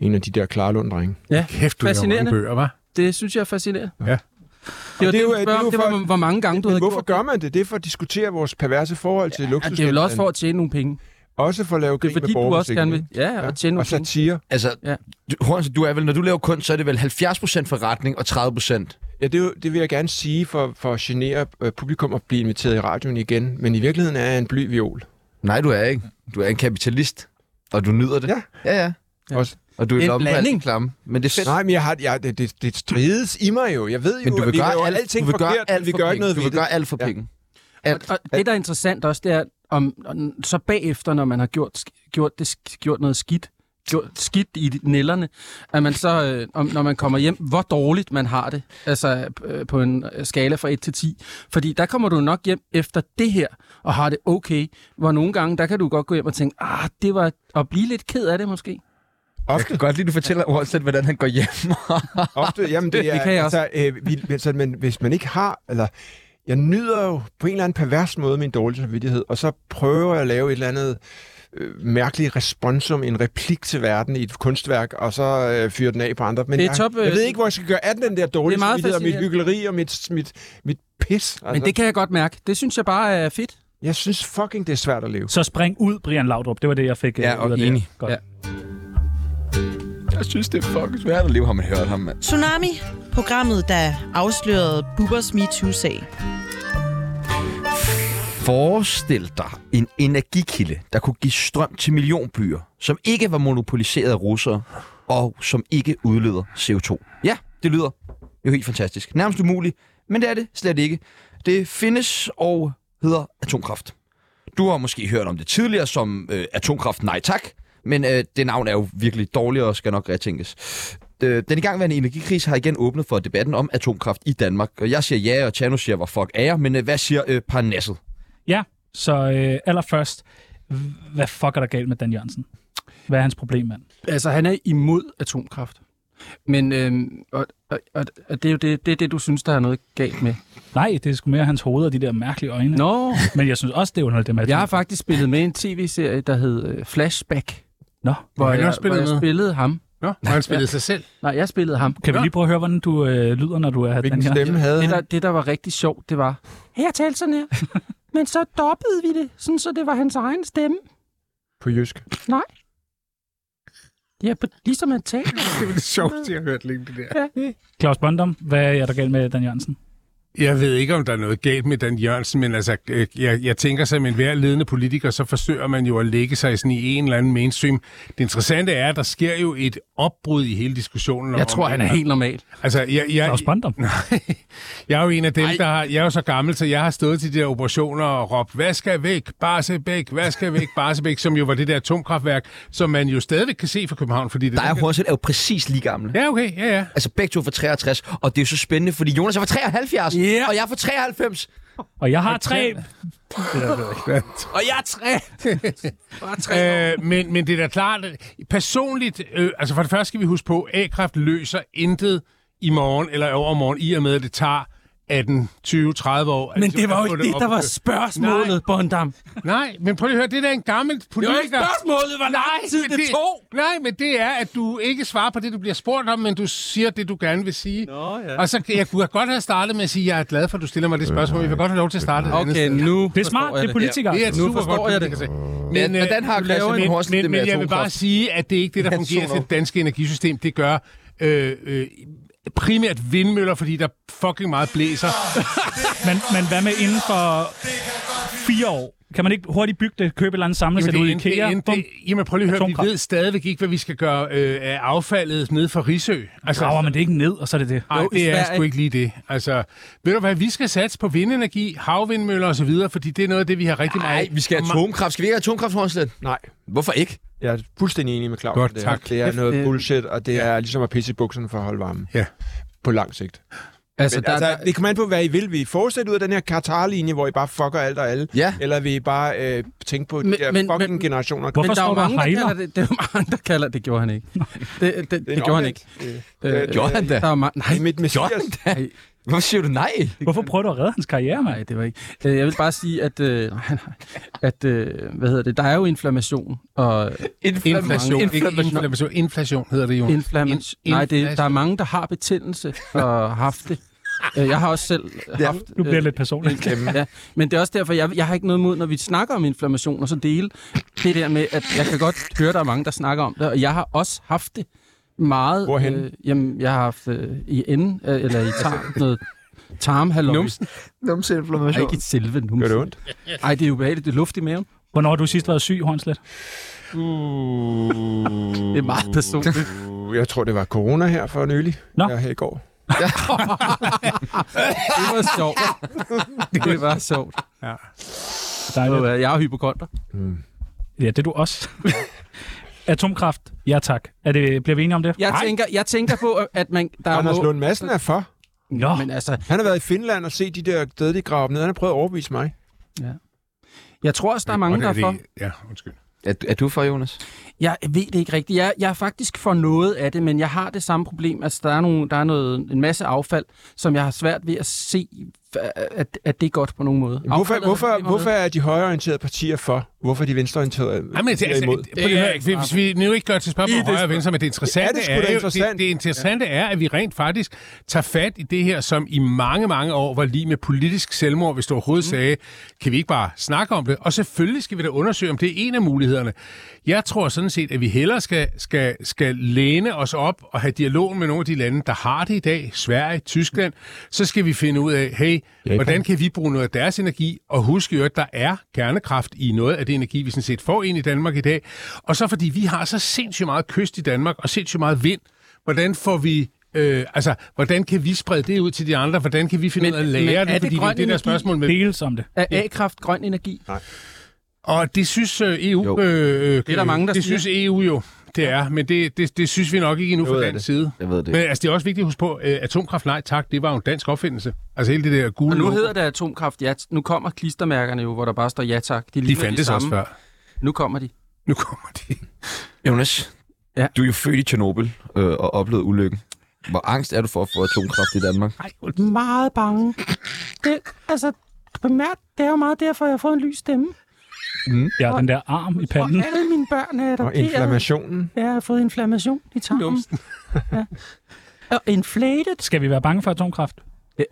Speaker 4: en af de der Klarlund-drenge.
Speaker 6: Ja,
Speaker 5: Kæft, du laver mange
Speaker 6: Fascinerende.
Speaker 5: bøger, hva'?
Speaker 6: det synes jeg er fascinerende.
Speaker 5: Ja.
Speaker 6: Det var
Speaker 4: Og
Speaker 6: det,
Speaker 4: det er jo-
Speaker 6: det,
Speaker 4: det er jo
Speaker 6: det, det var,
Speaker 4: for-
Speaker 6: hvor mange gange du
Speaker 4: Men
Speaker 6: havde
Speaker 4: hvorfor
Speaker 6: gjort det.
Speaker 4: gør man det? Det er for at diskutere vores perverse forhold til
Speaker 6: Ja,
Speaker 4: luksus.
Speaker 6: det er vel også for at tjene nogle penge.
Speaker 4: Også for at lave
Speaker 6: Det
Speaker 4: grin
Speaker 6: er fordi,
Speaker 4: med
Speaker 6: du også
Speaker 4: borgermusikken,
Speaker 6: gerne vil
Speaker 4: ikke?
Speaker 6: ja, og tjene
Speaker 4: og
Speaker 6: nogle penge.
Speaker 4: satire.
Speaker 3: Altså,
Speaker 6: Ja.
Speaker 3: du, Horns, du er vel, når du laver kunst, så er det vel 70% forretning og 30%.
Speaker 4: Ja, det, er jo- det vil jeg gerne sige for, for at genere øh, publikum og blive inviteret i radioen igen. Men i virkeligheden er jeg en bly viol.
Speaker 3: Nej, du er ikke. Du er en kapitalist, og du nyder det.
Speaker 4: Ja.
Speaker 3: ja. ja.
Speaker 6: Ja.
Speaker 4: Også-
Speaker 3: Og du er
Speaker 6: En
Speaker 3: i lommen på alt
Speaker 6: blanding.
Speaker 3: det klamme. Men det er fedt.
Speaker 4: Nej, men jeg har, jeg, det, det, det strides i mig jo. Jeg ved jo,
Speaker 3: Men du
Speaker 4: at
Speaker 3: vil
Speaker 4: vi
Speaker 3: gøre
Speaker 4: laver
Speaker 3: alt,
Speaker 4: alting
Speaker 3: du vil gøre
Speaker 4: forkert, men
Speaker 3: alt
Speaker 4: vi
Speaker 3: for
Speaker 4: gør
Speaker 3: penge.
Speaker 4: ikke noget
Speaker 3: du
Speaker 4: ved
Speaker 3: vil
Speaker 4: det.
Speaker 3: gøre alt for
Speaker 4: Ja.
Speaker 3: penge.
Speaker 6: Og, og det, der er interessant også, det er, om, om- så bagefter, når man har gjort, sk- gjort, det, sk- gjort noget skidt, gjort skidt i de- nælderne, at man så, øh, om, når man kommer hjem, hvor dårligt man har det, altså øh, på en øh, skala fra 1 til 10. Fordi der kommer du nok hjem efter det her, og har det okay, hvor nogle gange, der kan du godt gå hjem og tænke, ah, det var at blive lidt ked af det måske.
Speaker 3: Jeg kan godt lide, du fortæller Hornstedt, hvordan han går hjem.
Speaker 4: Ofte, jamen det, er,
Speaker 6: Det kan jeg også.
Speaker 4: Altså, øh, vi, altså, men hvis man ikke har, eller jeg nyder jo på en eller anden pervers måde min dårlige samvittighed, og så prøver jeg at lave et eller andet øh, mærkelige responsum, en replik til verden i et kunstværk, og så øh, fyre den af på andre. Men
Speaker 6: Det er
Speaker 4: jeg,
Speaker 6: top, øh,
Speaker 4: jeg ved ikke, hvor jeg skal gøre af den der dårlige
Speaker 6: Det er meget
Speaker 4: samvittighed, og mit
Speaker 6: fascinerende.
Speaker 4: hyggeleri og mit, mit, mit pis. Altså,
Speaker 6: Men det kan jeg godt mærke. Det synes jeg bare er fedt.
Speaker 4: Jeg synes fucking, det er svært at leve.
Speaker 2: Så spring ud, Brian Laudrup. Det var det, jeg fik øh,
Speaker 3: Ja, og
Speaker 2: ud af
Speaker 3: enig.
Speaker 2: det. Godt.
Speaker 6: Ja.
Speaker 3: Jeg synes, det er fucking svært at leve, har man hørt ham, mand.
Speaker 7: Tsunami, programmet, der afslørede Bubbers MeToo-sag.
Speaker 3: Forestil dig en energikilde, der kunne give strøm til millionbyer, som ikke var monopoliseret af russere, og som ikke udleder CO2. Ja, det lyder jo helt fantastisk. Nærmest umuligt, men det er det slet ikke. Det findes og hedder atomkraft. Du har måske hørt om det tidligere som øh, atomkraft nej tak, men øh, det navn er jo virkelig dårligt og skal nok retænkes. Øh, Den igangværende energikrise har igen åbnet for debatten om atomkraft i Danmark. Og Jeg siger ja, og Tjano siger, hvor fuck er jeg, men øh, hvad siger øh, Parnasset?
Speaker 2: Ja, så øh, allerførst, h- hvad fuck er der galt med Dan Jørgensen? Hvad er hans problem, mand?
Speaker 6: Altså, han er imod atomkraft. Men øhm, og, og, og, og det er jo det, det, er det, du synes, der er noget galt med.
Speaker 2: Nej, det er sgu mere hans hoved og de der mærkelige øjne.
Speaker 6: Nå,
Speaker 2: Men jeg synes også, det er underligt, det med
Speaker 6: jeg har faktisk spillet med i en tv-serie, der hed øh, Flashback,
Speaker 2: Nå,
Speaker 6: hvor
Speaker 5: han
Speaker 6: jeg,
Speaker 5: også
Speaker 6: hvor
Speaker 5: spillet
Speaker 6: jeg
Speaker 5: med?
Speaker 6: spillede ham.
Speaker 5: Nå, og han spillede sig selv.
Speaker 6: Nej, jeg spillede ham.
Speaker 2: kan vi lige prøve at høre, hvordan du øh, lyder, når du er
Speaker 4: Hvilken
Speaker 2: Dan Jørgensen?
Speaker 4: stemme havde
Speaker 6: Det
Speaker 4: han?
Speaker 6: der, det, der var rigtig sjovt, det var...
Speaker 8: Jeg talte sådan her. Men så doppede vi det, sådan så det var hans egen stemme.
Speaker 4: På jysk.
Speaker 8: Ja, på, ligesom han talte.
Speaker 5: Det var det sjoveste, jeg har hørt længe, det der.
Speaker 2: Claus Bondum, hvad er der galt med Dan Jørgensen?
Speaker 5: Jeg ved ikke, om der er noget galt med Dan Jørgensen, men altså, øh, jeg, jeg tænker som en hver ledende politiker, så forsøger man jo at lægge sig sådan i en eller anden mainstream. Det interessante er, at der sker jo et opbrud i hele diskussionen. om-
Speaker 6: Jeg tror, han er helt normal.
Speaker 5: Altså, jeg, jeg,
Speaker 2: Claus Bondum?
Speaker 5: jeg er jo en af dem, der har, jeg er jo så gammel, så jeg har stået til de der operationer og råbt, hvad skal væk, Barsebæk, hvad skal væk, Barsebæk, som jo var det der atomkraftværk, som man jo stadigvæk kan se fra København, fordi det
Speaker 3: Dig og Horset er jo præcis lige gamle.
Speaker 5: Ja, okay, ja, ja.
Speaker 3: Altså begge to er fra 63, og det er jo så spændende, fordi Jonas er fra 73,
Speaker 6: Ja.
Speaker 3: og jeg er fra 93.
Speaker 2: Og jeg har tre...
Speaker 6: Og jeg er tre! Bare tre
Speaker 5: Øh, men, men det er da klart, at personligt, øh, altså for det første skal vi huske på, at A-kraft løser intet i morgen eller overmorgen, i og med, at det tager 18, 20, 30 år. at-
Speaker 8: Men det var
Speaker 5: at
Speaker 8: jo
Speaker 5: få
Speaker 8: ikke det,
Speaker 5: op
Speaker 8: der
Speaker 5: at
Speaker 8: var
Speaker 5: køre.
Speaker 8: spørgsmålet, Bondam.
Speaker 5: Nej, men prøv lige at høre, det er da en gammel politiker.
Speaker 6: var
Speaker 5: Nej, men Nej, men det er, at du ikke svarer på det, du bliver spurgt om, men du siger det, du gerne vil sige. Nå, ja. Og så jeg kunne godt have startet med at sige, at jeg er glad for, at du stiller mig det spørgsmål. Jeg vil godt have lov til at starte et andet
Speaker 6: Okay,
Speaker 5: sted.
Speaker 6: nu
Speaker 2: Det er
Speaker 6: forstår
Speaker 2: smart,
Speaker 6: jeg
Speaker 2: det er politikere.
Speaker 5: Det er
Speaker 2: Det
Speaker 5: et
Speaker 6: Nu
Speaker 5: super
Speaker 6: forstår
Speaker 5: godt,
Speaker 6: jeg
Speaker 5: du kan
Speaker 6: det.
Speaker 5: se.
Speaker 3: Men,
Speaker 5: øh,
Speaker 3: hvordan har
Speaker 5: du
Speaker 3: Christian
Speaker 5: laver en-
Speaker 3: Lund Horsen
Speaker 5: men,
Speaker 3: det med
Speaker 5: men jeg vil bare
Speaker 3: atomkraft?
Speaker 5: sige, at det er ikke det, der fungerer til det danske energisystem. Det gør øh, øh, primært vindmøller, fordi der fucking meget blæser.
Speaker 2: Men, men hvad med inden for fire år? Kan man ikke hurtigt bygge det, købe et eller andet samlesæt ud i
Speaker 5: det,
Speaker 2: IKEA?
Speaker 5: det,
Speaker 2: Bum.
Speaker 5: det, jamen prøv lige at høre, vi
Speaker 2: Atomkraft.
Speaker 5: ved stadigvæk ikke, hvad vi skal gøre øh, af affaldet nede fra Risø. Altså,
Speaker 2: Graver man det ikke ned, og så er det det.
Speaker 5: Nej,
Speaker 6: Jo, i
Speaker 5: det er
Speaker 6: Sverige.
Speaker 5: sgu ikke lige det. Altså, ved du hvad, vi skal satse på vindenergi, havvindmøller osv., fordi det er noget af det, vi har rigtig meget
Speaker 3: Nej, vi skal have atomkraft. Skal vi ikke have atomkraft, Horset?
Speaker 4: Nej.
Speaker 3: Hvorfor ikke?
Speaker 4: Jeg er fuldstændig enig med Claus.
Speaker 5: Godt,
Speaker 4: det
Speaker 5: tak.
Speaker 4: Det er
Speaker 6: Kæft,
Speaker 4: noget
Speaker 6: det-
Speaker 4: bullshit, og det er ligesom at pisse i bukserne for at holde varmen.
Speaker 5: Ja.
Speaker 4: På lang sigt.
Speaker 6: Altså,
Speaker 4: Men,
Speaker 6: der,
Speaker 4: altså,
Speaker 6: der,
Speaker 4: det kommer an på, hvad I vil. Vil I fortsætte ud af den her Qatar-linje, hvor I bare fucker alt og alle?
Speaker 3: Ja.
Speaker 4: Eller vil I bare øh, tænke på de
Speaker 6: Men-
Speaker 4: der
Speaker 6: men-
Speaker 4: fucking
Speaker 6: men-
Speaker 4: generationer?
Speaker 2: Hvorfor
Speaker 6: men der er
Speaker 2: står
Speaker 6: jo
Speaker 2: der
Speaker 6: mange, der
Speaker 2: hejler?
Speaker 6: kalder det, det er jo mange, der kalder det. gjorde han ikke. Det, det, det, det gjorde han ikke.
Speaker 4: Øh,
Speaker 6: Øh,
Speaker 4: øh,
Speaker 3: Gjorde han da?
Speaker 6: Der er ma-
Speaker 4: Det er
Speaker 6: nej,
Speaker 4: mit messias.
Speaker 3: Hvorfor siger du nej?
Speaker 2: Hvorfor prøver du at redde hans karriere, mand?
Speaker 6: nej, det var ikke. Øh, Jeg vil bare sige, at, øh, nej, nej, at øh, hvad hedder det, der er jo inflammation. Og
Speaker 5: Inflation.
Speaker 6: Inflation.
Speaker 5: Inflation. Ikke inflation. Inflation hedder det jo.
Speaker 6: inflammation.
Speaker 5: In-
Speaker 6: nej, det, der er
Speaker 5: inflation.
Speaker 6: mange, der har betændelse og har haft det. Øh, Jeg har også selv haft...
Speaker 2: Nu bliver
Speaker 6: øh,
Speaker 2: det lidt personligt.
Speaker 6: Ja, men det er også derfor, jeg, jeg har ikke noget imod, når vi snakker om inflammation, og så dele det der med, at jeg kan godt høre, der er mange, der snakker om det, og jeg har også haft det meget.
Speaker 4: Hvorhenne? Altså-
Speaker 6: Øh, jamen, jeg har haft øh, i enden, øh, eller i tarm, noget tarmhalløj. Numsen. Numseinflammation. Ikke i selve numsen.
Speaker 4: Gør det ondt?
Speaker 6: Ej, det er ubehageligt. Det er luft i maven.
Speaker 2: Hvornår har du sidst været syg, Hornslet?
Speaker 6: Det er meget personligt.
Speaker 4: Uh, Jeg tror, det var corona her for nylig.
Speaker 2: Nå.
Speaker 4: Ja, her i går.
Speaker 6: Det var sjovt. Det var sjovt.
Speaker 2: Dejligt.
Speaker 6: Og, øh, Jeg er hypokonter.
Speaker 2: Ja, det er du også. Atomkraft, ja tak. Er det, bliver vi enige om det?
Speaker 6: Jeg tænker, jeg tænker på, at man... Der er
Speaker 4: Anders
Speaker 6: må-
Speaker 4: Lund Madsen er for.
Speaker 2: Nå,
Speaker 6: Men altså,
Speaker 4: Han har været i Finland og set de der dødelige grave op ned. Han har prøvet at overbevise mig.
Speaker 6: jeg tror også, der er mange, der er for.
Speaker 5: Ja, undskyld.
Speaker 3: Er, er du for, Jonas?
Speaker 6: Jeg ved det ikke rigtigt. Jeg, jeg er faktisk for noget af det, men jeg har det samme problem. Altså, der er, nogle, der er noget, en masse affald, som jeg har svært ved at se, at, at det er godt på nogen måde.
Speaker 4: Hvorfor,
Speaker 6: Affaldet har
Speaker 4: hvorfor,
Speaker 6: problemer med.
Speaker 4: hvorfor er de højreorienterede partier for? Hvorfor er de venstreorienterede
Speaker 5: Jamen, det,
Speaker 4: partier
Speaker 5: altså,
Speaker 4: imod?
Speaker 5: det, det, det, hvis vi nu ikke gør til spørgsmål om højre og venstre, men det
Speaker 4: Ja,
Speaker 5: interessante
Speaker 4: det er sgu
Speaker 5: er,
Speaker 4: da
Speaker 5: jo,
Speaker 4: interessant.
Speaker 5: Det, det interessante er, at vi rent faktisk tager fat i det her, som i mange, mange år var lige med politisk selvmord, hvis du overhovedet mm. sagde, kan vi ikke bare snakke om det? Og selvfølgelig skal vi da undersøge, om det er en af mulighederne. Jeg tror sådan set, at vi hellere skal, skal, skal læne os op og have dialog med nogle af de lande, der har det i dag, Sverige, Tyskland. Så skal vi finde ud af, hey, hvordan kan vi bruge noget af deres energi? Og husk jo, at der er kernekraft i noget af det energi, vi sådan set får ind i Danmark i dag. Og så fordi vi har så sindssygt meget kyst i Danmark og sindssygt meget vind, hvordan får vi... Øh, altså, hvordan kan vi sprede det ud til de andre? Hvordan kan vi finde
Speaker 6: Men-
Speaker 5: ud af at
Speaker 6: men
Speaker 5: lære
Speaker 6: er
Speaker 5: det?
Speaker 6: det
Speaker 5: Fordi det er
Speaker 6: grøn
Speaker 5: det der
Speaker 6: energi?
Speaker 5: spørgsmål med...
Speaker 2: Deles om det.
Speaker 6: Er A-kraft grøn energi?
Speaker 5: Og det synes øh, EU...
Speaker 3: Jo.
Speaker 5: Øh, det
Speaker 6: er der mange, der
Speaker 5: Det
Speaker 6: siger.
Speaker 5: synes EU jo, det er. Men det, det, det synes vi nok ikke endnu fra
Speaker 4: Noget af
Speaker 5: dansk side.
Speaker 3: Jeg ved det.
Speaker 5: Men altså, det er også vigtigt at huske på, øh, atomkraft, nej tak, det var jo en dansk opfindelse. Altså hele det der gule...
Speaker 6: Og nu
Speaker 5: logo,
Speaker 6: hedder det atomkraft ja. Nu kommer klistermærkerne jo, hvor der bare står ja tak. De,
Speaker 5: De
Speaker 6: ligner
Speaker 5: fandtes også
Speaker 6: samme.
Speaker 5: før.
Speaker 6: Nu kommer de.
Speaker 5: Nu kommer de.
Speaker 3: Jonas,
Speaker 6: Ja.
Speaker 3: du er jo født i Tjernobyl øh, og oplevede ulykken. Hvor angst er du for at få atomkraft i Danmark?
Speaker 8: Meget bange. Det, altså, bemærk, det er jo meget derfor, jeg har fået en lys stemme.
Speaker 2: Jeg har den der arm i
Speaker 8: Og
Speaker 2: panden.
Speaker 8: alle mine børn er
Speaker 4: Og
Speaker 8: adopteret.
Speaker 4: inflammationen?
Speaker 8: Jeg har fået inflammation i tarmen. Ja. Og inflated.
Speaker 2: Skal vi være bange for atomkraft?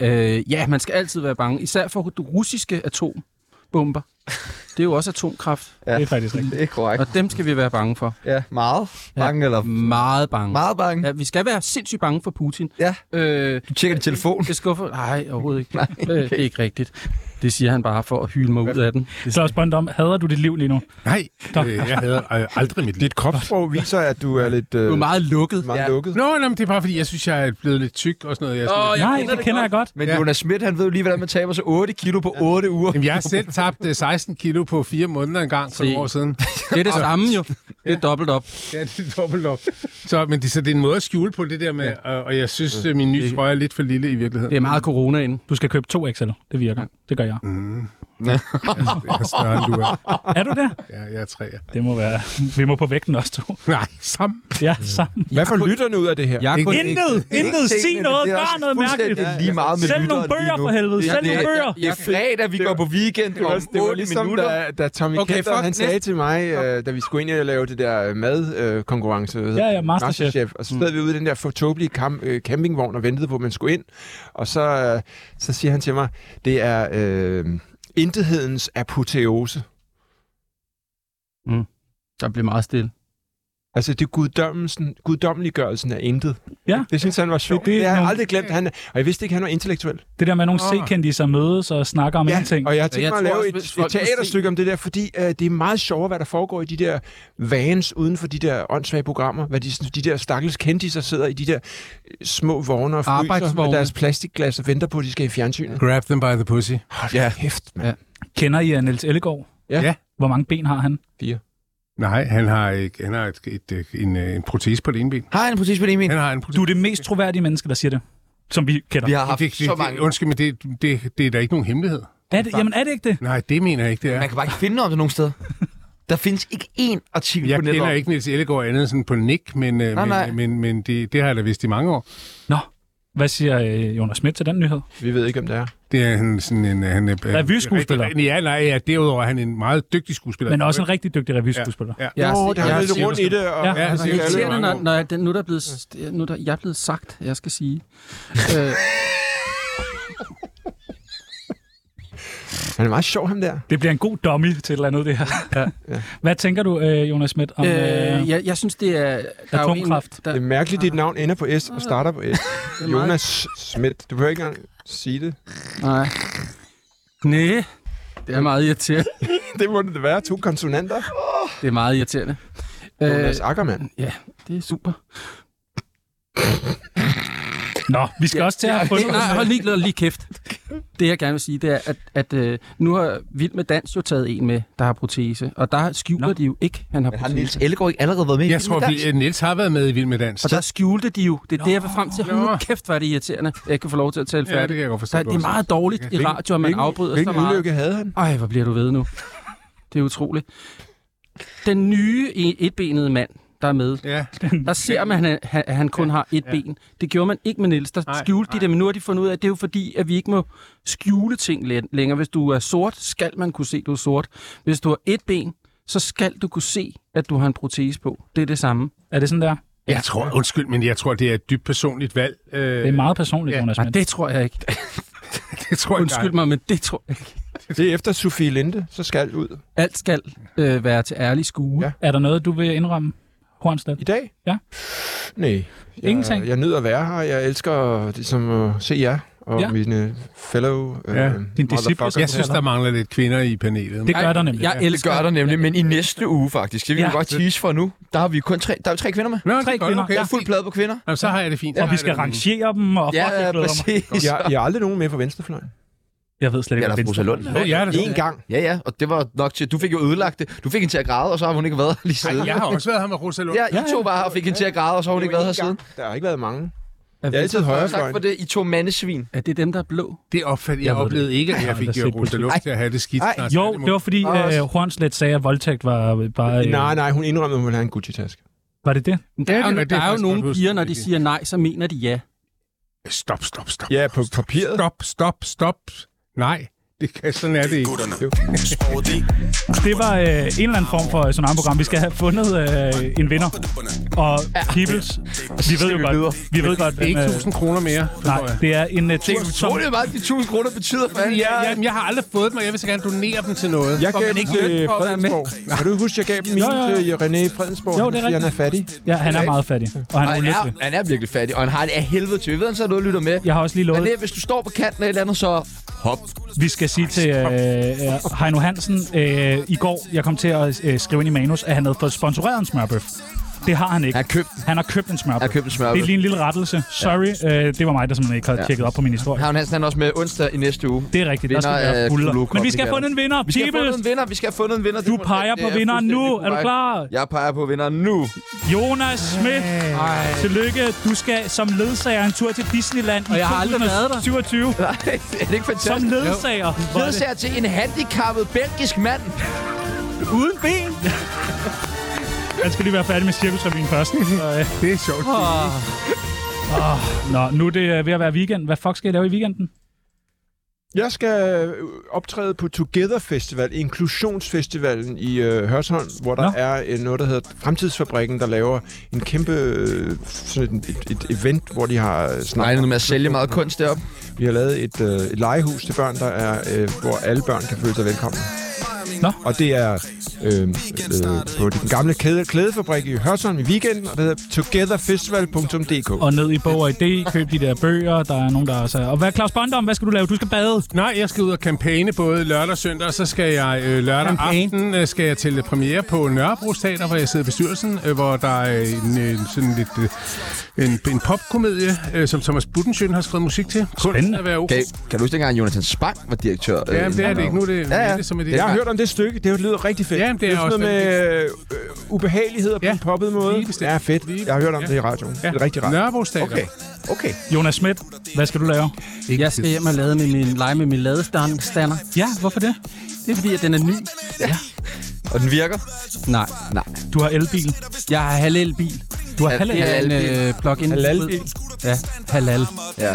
Speaker 6: Øh, ja, man skal altid være bange. Især for de russiske atombomber. Det er jo også atomkraft,
Speaker 2: Det er faktisk rigtigt.
Speaker 3: Det er korrekt.
Speaker 6: og dem skal vi være bange for.
Speaker 3: Ja, meget. Bange eller...
Speaker 4: Mm.
Speaker 6: Meget bange.
Speaker 3: Meget bange.
Speaker 6: Ja, vi skal være sindssygt bange for Putin.
Speaker 3: Ja.
Speaker 6: Øh,
Speaker 3: Du tjekker din telefon.
Speaker 6: det skuffer... Nej, overhovedet ikke. Nej, okay. øh, det er ikke rigtigt. Det siger han bare for at hylde mig ud af den.
Speaker 2: Så også Bond om, hader du dit liv lige nu?
Speaker 5: Nej, øh, jeg hader øh, aldrig mit liv.
Speaker 4: Dit kropssprog viser, at du er lidt øh,
Speaker 6: Du er meget lukket.
Speaker 4: meget lukket.
Speaker 5: Nå, nej, men det er bare fordi, jeg synes, jeg er blevet lidt tyk og sådan noget. Jeg er sådan,
Speaker 6: Åh,
Speaker 5: lidt-
Speaker 6: Jeg
Speaker 2: Nej,
Speaker 6: kender
Speaker 2: det
Speaker 6: det
Speaker 2: kender jeg godt.
Speaker 3: Men
Speaker 5: Ja.
Speaker 3: Jonas Schmidt, han ved jo lige, hvordan man taber sig 8 kilo på 8 uger.
Speaker 5: Jamen, jeg har selv tabt øh, 16 kilo på fire måneder en gang for
Speaker 6: Se.
Speaker 5: nogle år siden.
Speaker 6: Det er det samme jo. Det er dobbelt op.
Speaker 5: Ja, det er dobbelt op. Så, men det, så det er en måde at skjule på det der med, og, og jeg synes, øh, min nye trøje er lidt for lille i virkeligheden.
Speaker 6: Det er meget coronaen.
Speaker 2: Du skal købe to XL. Det virker. Det gør jeg.
Speaker 5: Jeg er større, end du er.
Speaker 2: Er du der?
Speaker 5: Ja, jeg er træer.
Speaker 2: Det må være. Vi må på vægten også to.
Speaker 5: Nej, sammen.
Speaker 2: Ja, sammen.
Speaker 4: Hvad får lytterne ud af det her?
Speaker 6: Jeg kunne ikke...
Speaker 2: Intet! Intet! Sig noget! Gør noget mærkeligt!
Speaker 3: Det er lige meget med
Speaker 2: Sælg nogle
Speaker 3: lytteren lige
Speaker 2: bøger
Speaker 3: nu.
Speaker 2: for helvede!
Speaker 3: Det er-
Speaker 2: Sælg
Speaker 3: det er-
Speaker 2: nogle bøger!
Speaker 3: Det er fredag, vi går på weekend
Speaker 4: Det
Speaker 3: om
Speaker 4: var, det var
Speaker 3: 8
Speaker 4: ligesom,
Speaker 3: minutter.
Speaker 4: da, da Tommy okay,
Speaker 6: Okay,
Speaker 4: Kenter,
Speaker 6: fuck,
Speaker 4: han sagde
Speaker 6: næste.
Speaker 4: til mig, øh, da vi skulle ind og lave det der øh, madkonkurrence. Øh,
Speaker 2: Ja, ja, Masterchef.
Speaker 4: Og så stod vi ude i den der fortåbelige kam- øh, campingvogn og ventede på, at man skulle ind. Og så, øh, så siger han til mig, det er øh, intethedens apoteose.
Speaker 6: Der blev meget stille.
Speaker 4: Altså det er guddommelsen, guddommeliggørelsen af intet.
Speaker 2: Ja.
Speaker 4: Det synes han var
Speaker 2: Det-
Speaker 4: sjovt.
Speaker 2: det
Speaker 4: Det, det, det har jeg
Speaker 2: nogle-
Speaker 4: aldrig glemt. Han, er- og jeg vidste ikke, han var intellektuel.
Speaker 2: Det der med nogle C-kendte, som mødes og snakker om ingenting.
Speaker 4: og jeg har tænkt
Speaker 6: Jeg
Speaker 4: mig at
Speaker 6: tror
Speaker 4: lave
Speaker 6: også,
Speaker 4: et,
Speaker 6: hvis
Speaker 4: et
Speaker 6: folk må se-
Speaker 4: teaterstykke om det der, fordi øh, det er meget sjovere, hvad der foregår i de der vans uden for de der åndssvage programmer, hvad de, de der stakkels kendtiser sidder i de der øh, små vogne og fryser med
Speaker 6: Arbejdsvogne.
Speaker 4: deres plastikglas og venter på, at de skal i fjernsynet.
Speaker 5: Grab them by the pussy.
Speaker 4: Hold
Speaker 3: Ja.
Speaker 4: ja. kæft, mand.
Speaker 6: Ja.
Speaker 2: Kender I øh, Niels Ellegaard?
Speaker 4: Ja.
Speaker 5: Ja.
Speaker 2: Hvor mange ben har han?
Speaker 5: Nej, han har, ikke, han har et, et, øh, en, øh, en protese på det ene ben.
Speaker 3: Har han præcis hvad det, mener?
Speaker 5: Han har en protese.
Speaker 2: Du er det mest troværdige menneske, der siger det. Som vi kender.
Speaker 3: Vi har haft
Speaker 5: det, det,
Speaker 3: så mange...
Speaker 5: det, undskyld, men det, det, det er da ikke nogen hemmelighed.
Speaker 2: Er det, jamen er det ikke det?
Speaker 5: Nej, det mener jeg ikke, det er.
Speaker 3: Man kan bare ikke finde noget om det nogen steder. Der findes ikke én artikel
Speaker 5: Jeg
Speaker 3: på nettet.
Speaker 5: kender
Speaker 3: om-
Speaker 5: ikke Niels Ellegaard andet end sådan på Nick, men, nej, men,
Speaker 3: nej.
Speaker 5: men, men det, det har jeg da vidst i mange år.
Speaker 2: Nå, hvad siger øh, Jonas Schmidt til den nyhed?
Speaker 4: Vi ved ikke, om det er.
Speaker 5: Det er han sådan en... øh, Han er,
Speaker 2: Revyskuespiller.
Speaker 5: rigtig- Ja, nej, ja, derudover er han en meget dygtig skuespiller.
Speaker 2: Men også en rigtig dygtig revyskuespiller.
Speaker 5: Ja,
Speaker 6: Jeg,
Speaker 4: Nå, der har
Speaker 6: altså, jeg,
Speaker 4: været lidt
Speaker 5: siger
Speaker 4: rundt
Speaker 5: du
Speaker 4: i det. Og,
Speaker 2: Ja.
Speaker 5: ja, han
Speaker 6: Det er
Speaker 5: siger det i
Speaker 6: irriterende,
Speaker 5: mange
Speaker 6: når,
Speaker 5: år.
Speaker 6: når den, nu er der er blevet, st- nu er der, jeg er blevet sagt, jeg skal sige. øh,
Speaker 4: Han er meget sjov, ham der.
Speaker 2: Det bliver en god dummy til et eller andet, det her. Ja. Hvad tænker du, øh, Jonas Schmidt, om...
Speaker 6: øh, jeg, jeg synes, det er... Der er jo en-
Speaker 2: Atomkraft.
Speaker 6: der,
Speaker 4: Det er mærkeligt, dit navn ender på S og starter på S.
Speaker 6: er meget-
Speaker 4: Jonas Schmidt. Du behøver ikke engang sige det.
Speaker 6: Nej. Næh. Det er meget irriterende.
Speaker 4: Det må det være. To konsonanter.
Speaker 6: Det er meget irriterende. Øh,
Speaker 4: Jonas Ackermann.
Speaker 6: ja, det er super.
Speaker 2: Nå, vi skal ja, også til at få...
Speaker 6: Det, nej, hold lige, hold lige kæft. Det, jeg gerne vil sige, det er, at, at øh, nu har Vild med Dans jo taget en med, der har protese. Og der skjuler
Speaker 2: Nå.
Speaker 6: Nå. de jo ikke, han har
Speaker 3: Har
Speaker 6: protese.
Speaker 3: Niels Ellegaard ikke allerede været med i
Speaker 5: Jeg tror, vi, Niels har været med i Vild med Dans.
Speaker 6: Og der skjulte de jo. Det er det, jeg var frem til. Hold
Speaker 5: Nå.
Speaker 6: nu kæft, var det irriterende. Jeg kan få lov til at tale
Speaker 5: Ja, det
Speaker 6: færdigt.
Speaker 5: kan jeg godt forstå.
Speaker 6: Ja, det, det er meget dårligt i radio, at man afbryder så
Speaker 4: Hvilken
Speaker 6: meget.
Speaker 4: ulykke havde han?
Speaker 6: Ej, hvor bliver du ved nu. Det er utroligt. Den nye e- etbenede mand, der er med.
Speaker 5: Ja.
Speaker 6: Der ser man, at han, at han kun har et ben. Det gjorde man ikke med Niels. Der
Speaker 5: Nej,
Speaker 6: skjulte de
Speaker 5: nej.
Speaker 6: det, men nu har de fundet ud af, at det er jo fordi, at vi ikke må skjule ting læ- længere. Hvis du er sort, skal man kunne se, at du er sort. Hvis du har et ben, så skal du kunne se, at du har en protese på. Det er det samme.
Speaker 2: Er det sådan der?
Speaker 5: Jeg tror, undskyld, men jeg tror, det er et dybt personligt valg. Øh,
Speaker 2: Det er meget personligt,
Speaker 5: Ja.
Speaker 2: Jonas.
Speaker 6: Nej,
Speaker 2: Men.
Speaker 6: det tror jeg ikke.
Speaker 5: det tror jeg
Speaker 6: Undskyld mig, men det tror jeg ikke.
Speaker 4: Det er efter Sofie Linde, så skal ud.
Speaker 6: Alt skal øh, være til ærlig skue.
Speaker 4: Ja.
Speaker 2: Er der noget, du vil indrømme, Hornstedt?
Speaker 4: I dag?
Speaker 2: Ja.
Speaker 4: Nej. Jeg,
Speaker 2: Ingenting?
Speaker 4: Jeg nyder at være her. Jeg elsker ligesom at se jer og
Speaker 2: Ja.
Speaker 4: ja. mine fellow øh,
Speaker 5: Ja.
Speaker 4: ja.
Speaker 2: Din disciple, som
Speaker 5: Jeg synes, der mangler lidt kvinder i panelet.
Speaker 2: Det gør
Speaker 6: Ej,
Speaker 2: der nemlig.
Speaker 6: Jeg
Speaker 3: Det
Speaker 6: elsker
Speaker 3: gør der nemlig, men i næste uge faktisk. Det vil
Speaker 2: Ja.
Speaker 3: vi godt tease for nu. Der har vi kun tre, der er jo tre kvinder med.
Speaker 5: Nå, det er
Speaker 2: Tre
Speaker 5: godt,
Speaker 2: kvinder.
Speaker 5: okay.
Speaker 3: Jeg er fuld plade på kvinder.
Speaker 5: Jamen, så har jeg det fint.
Speaker 2: Og vi skal rangere dem, og fuck, jeg
Speaker 3: Ja,
Speaker 2: glæder mig.
Speaker 3: præcis.
Speaker 4: Jeg, jeg har aldrig nogen med fra venstrefløjen.
Speaker 2: Jeg ved slet
Speaker 3: Ja,
Speaker 2: ikke,
Speaker 3: der er
Speaker 2: hvad
Speaker 3: Rosa
Speaker 2: Venstre
Speaker 3: Lund.
Speaker 5: Ja, jeg, er
Speaker 4: En gang.
Speaker 3: Ja, ja, og det var nok til... Du fik jo ødelagt det. Du fik hende til at græde, og så har hun ikke været her lige siden.
Speaker 5: jeg har også været her med Rosa Lund.
Speaker 3: Ja, I to var her og fik hende til at græde, og så har hun ikke været her siden.
Speaker 4: Der har ikke været mange.
Speaker 6: Er,
Speaker 4: Jeg er altid
Speaker 3: Tak
Speaker 4: højrefløjen.
Speaker 3: for det, I to mandesvin.
Speaker 6: er det dem, der er blå?
Speaker 5: Det opfattede jeg,
Speaker 2: Jeg
Speaker 5: jeg
Speaker 2: ved
Speaker 5: oplevede ikke, at jeg
Speaker 2: har
Speaker 5: fik
Speaker 2: da set
Speaker 5: gjort Rosa
Speaker 2: politik.
Speaker 5: Lund til at have det skidt.
Speaker 4: Ej.
Speaker 5: snart.
Speaker 2: Jo, det var fordi,
Speaker 4: Også.
Speaker 2: øh, Hornslet sagde, at voldtægt var bare... Øh,
Speaker 4: Nej, nej, hun indrømmede, at hun ville have en Gucci-taske.
Speaker 2: Var det det?
Speaker 6: Men Der er,
Speaker 5: Ja,
Speaker 6: jo,
Speaker 5: det er
Speaker 6: der er jo
Speaker 5: faktisk
Speaker 6: nogle
Speaker 5: godt husket,
Speaker 6: piger, når de
Speaker 5: Vicky.
Speaker 6: siger nej, så mener de ja.
Speaker 5: Stop, stop, stop.
Speaker 4: Ja, på papiret.
Speaker 5: Stop, stop, stop. Nej, det kan, sådan er det ikke.
Speaker 2: Det var øh, en eller anden form for øh, tsunami-program. Vi skal have fundet øh, en vinder. Og Peoples, vi ved jo godt... Vi ved godt,
Speaker 5: Det er
Speaker 2: hvem,
Speaker 5: ikke
Speaker 2: øh,
Speaker 5: 1000 kroner mere.
Speaker 2: Nej, det er en uh,
Speaker 3: Det
Speaker 2: tur,
Speaker 3: er
Speaker 2: som...
Speaker 3: utroligt meget, de 1000 kroner betyder for alle.
Speaker 5: Ja, jamen, jeg har aldrig fået dem, og jeg vil så gerne donere dem til noget.
Speaker 4: Jeg
Speaker 5: Får
Speaker 4: gav
Speaker 5: man
Speaker 4: dem
Speaker 5: ikke
Speaker 4: til
Speaker 5: løn for at være med?
Speaker 4: Fredensborg. Kan du huske, jeg gav dem mine
Speaker 2: Jo, jo, jo.
Speaker 4: til René Fredensborg,
Speaker 2: Jo, det er
Speaker 4: fordi han
Speaker 2: rigtigt.
Speaker 4: er fattig?
Speaker 2: Ja, han er meget fattig, og han
Speaker 3: Og
Speaker 2: er
Speaker 3: han
Speaker 2: ulykkelig.
Speaker 3: er, han er virkelig fattig, og han har det af helvede til. Vi ved, han så noget lytter med.
Speaker 2: Jeg har også lige
Speaker 3: Men
Speaker 2: lovet,
Speaker 3: det, hvis du står på kanten af et eller andet, så hop.
Speaker 2: vi skal sige til øh, øh, Heino Hansen, øh, i går, jeg kom til at øh, skrive ind i manus, at han havde fået sponsoreret en smørbøf. Det har han ikke.
Speaker 3: Jeg har købt,
Speaker 2: Han har købt en smørbøf.
Speaker 3: jeg har købt en
Speaker 2: Det er
Speaker 3: smørbøl.
Speaker 2: lige en lille rettelse. Sorry, øh, det var mig, der simpelthen ikke havde
Speaker 3: Ja.
Speaker 2: tjekket op på min historie.
Speaker 3: Havn Hansen han er også med onsdag i næste uge.
Speaker 2: Det er rigtigt, der skal
Speaker 3: Vinder
Speaker 2: være
Speaker 3: af
Speaker 2: buller.
Speaker 3: Kulu
Speaker 2: Men vi skal have
Speaker 3: Copycat.
Speaker 2: fundet en vinder.
Speaker 3: Vi skal have fundet
Speaker 2: Peoples,
Speaker 3: en vinder, vi skal have fundet en vinder.
Speaker 2: du peger på vinderen nu. Er du klar?
Speaker 3: Jeg peger på vinderen nu.
Speaker 2: Jonas Schmidt, tillykke. Du skal som ledsager en tur til Disneyland i
Speaker 6: Og jeg har aldrig været der.
Speaker 2: 2027.
Speaker 3: Nej, er det ikke
Speaker 2: Som
Speaker 3: fantastisk?
Speaker 2: ledsager. Hvor er det-
Speaker 3: Ledsager til en handicappet belgisk mand.
Speaker 2: Uden ben? Jeg skal lige være færdig med cirkusrevyen først. Så, øh.
Speaker 5: Det er sjovt.
Speaker 2: Nå, nu er det øh, ved at være weekend. Hvad fuck skal jeg lave i weekenden?
Speaker 4: Jeg skal øh, optræde på Together Festival, inklusionsfestivalen i øh, Hørsholm, hvor der
Speaker 2: Nå.
Speaker 4: er øh, noget, der hedder Fremtidsfabrikken, der laver en kæmpe øh, sådan et, et, et event, hvor de har øh,
Speaker 3: Nej,
Speaker 4: snakket.
Speaker 3: nu med at sælge meget kunst deroppe.
Speaker 4: Vi har lavet et, øh, et legehus til børn, der er, øh, hvor alle børn kan føle sig velkomne.
Speaker 2: Nå.
Speaker 4: Og det er øh, øh, på den gamle kæde, klædefabrik i Hørsholm i weekenden, og det hedder togetherfestival.dk.
Speaker 2: Og ned i bog og idé, køb de der bøger, der er nogen, der også er... Og hvad, Claus Bondom, hvad skal du lave? Du skal bade.
Speaker 5: Nej, jeg skal ud og kampagne både lørdag og søndag, og så skal jeg øh, lørdag
Speaker 2: Kampagne?
Speaker 5: aften øh, skal jeg til premiere på Nørrebro Teater, hvor jeg sidder i bestyrelsen, øh, hvor der er en, øh, sådan lidt, øh, en, en popkomedie, øh, som Thomas Budensjøen har skrevet musik til. Kunsten
Speaker 2: Spændende.
Speaker 5: at være okay.
Speaker 3: Kan, kan du huske dengang, Jonathan Spang var direktør? øh,
Speaker 5: Ja, men det er det ikke. Nu er det
Speaker 3: Ja, ja.
Speaker 5: Mette, som er det.
Speaker 4: Jeg har hørt om det stykke. Det lyder rigtig fedt.
Speaker 5: Ja, men det er
Speaker 4: sådan
Speaker 5: også
Speaker 4: noget med øh, øh, ubehageligheder på
Speaker 5: Ja,
Speaker 4: en poppet måde.
Speaker 5: lige bestemt.
Speaker 4: Ja, fedt.
Speaker 5: Lige-
Speaker 4: Jeg har hørt om
Speaker 5: ja.
Speaker 4: det i radioen. Det er rigtig rart.
Speaker 5: Nørrebro Teater.
Speaker 3: Okay, okay.
Speaker 2: Jonas Schmidt, hvad skal du lave?
Speaker 5: Ikke
Speaker 6: Jeg skal hjem og lade med min, lege med min ladestander.
Speaker 2: Ja, hvorfor det?
Speaker 6: Det er fordi, at den er ny.
Speaker 3: Og den virker?
Speaker 6: Nej,
Speaker 2: Du har elbil.
Speaker 6: jeg har halal bil.
Speaker 2: Du har halal.
Speaker 6: Det er en
Speaker 3: Halalbil.
Speaker 6: øh, plug-in.
Speaker 4: Halalbil.
Speaker 6: Ja, halal.
Speaker 3: Ja.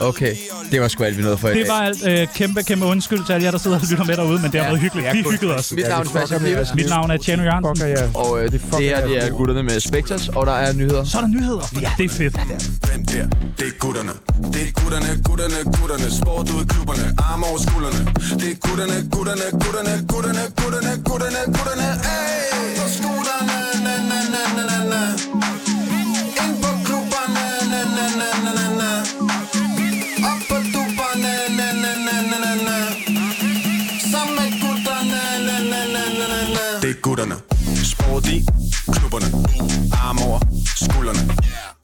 Speaker 3: Okay, det var sgu alt, vi nåede for i
Speaker 2: Det
Speaker 3: dag.
Speaker 2: var alt. Øh, kæmpe, kæmpe undskyld til alle jer, der sidder og lytter med derude, men det har været hyggeligt. Vi hyggede os.
Speaker 3: Mit navn er Sebastian Pibes,
Speaker 2: Mit navn er Tjerno Jørgensen.
Speaker 4: Fucker jer.
Speaker 3: og øh, det, det her det er gutterne med Spectres, og der er nyheder.
Speaker 2: Så er der nyheder. Det er fedt.
Speaker 10: Den der, det er gutterne. Det er gutterne, gutterne, gutterne. Sport ud i klubberne, arme over skuldrene. Det er gutterne, gutterne, gutterne, gutterne, gutterne, gutterne, gutterne. Ey! På skolerne, na, na, na, na, na, na. Ind på klubberne, na, na, na, na, na, na. Op på dupperne, na, na, na, na, na, na. Sammen med gutterne, na, na, na, na, na, na. Det er gutterne. Sport i klubberne. Arme over skuldrene.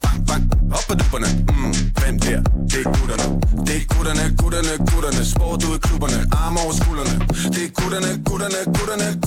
Speaker 10: Bang, bang, op på dupperne. Mm, hvem der? Det er gutterne. Det er gutterne, gutterne, gutterne. Sport ud i klubberne. Arme over skuldrene. Det er gutterne, gutterne, gutterne,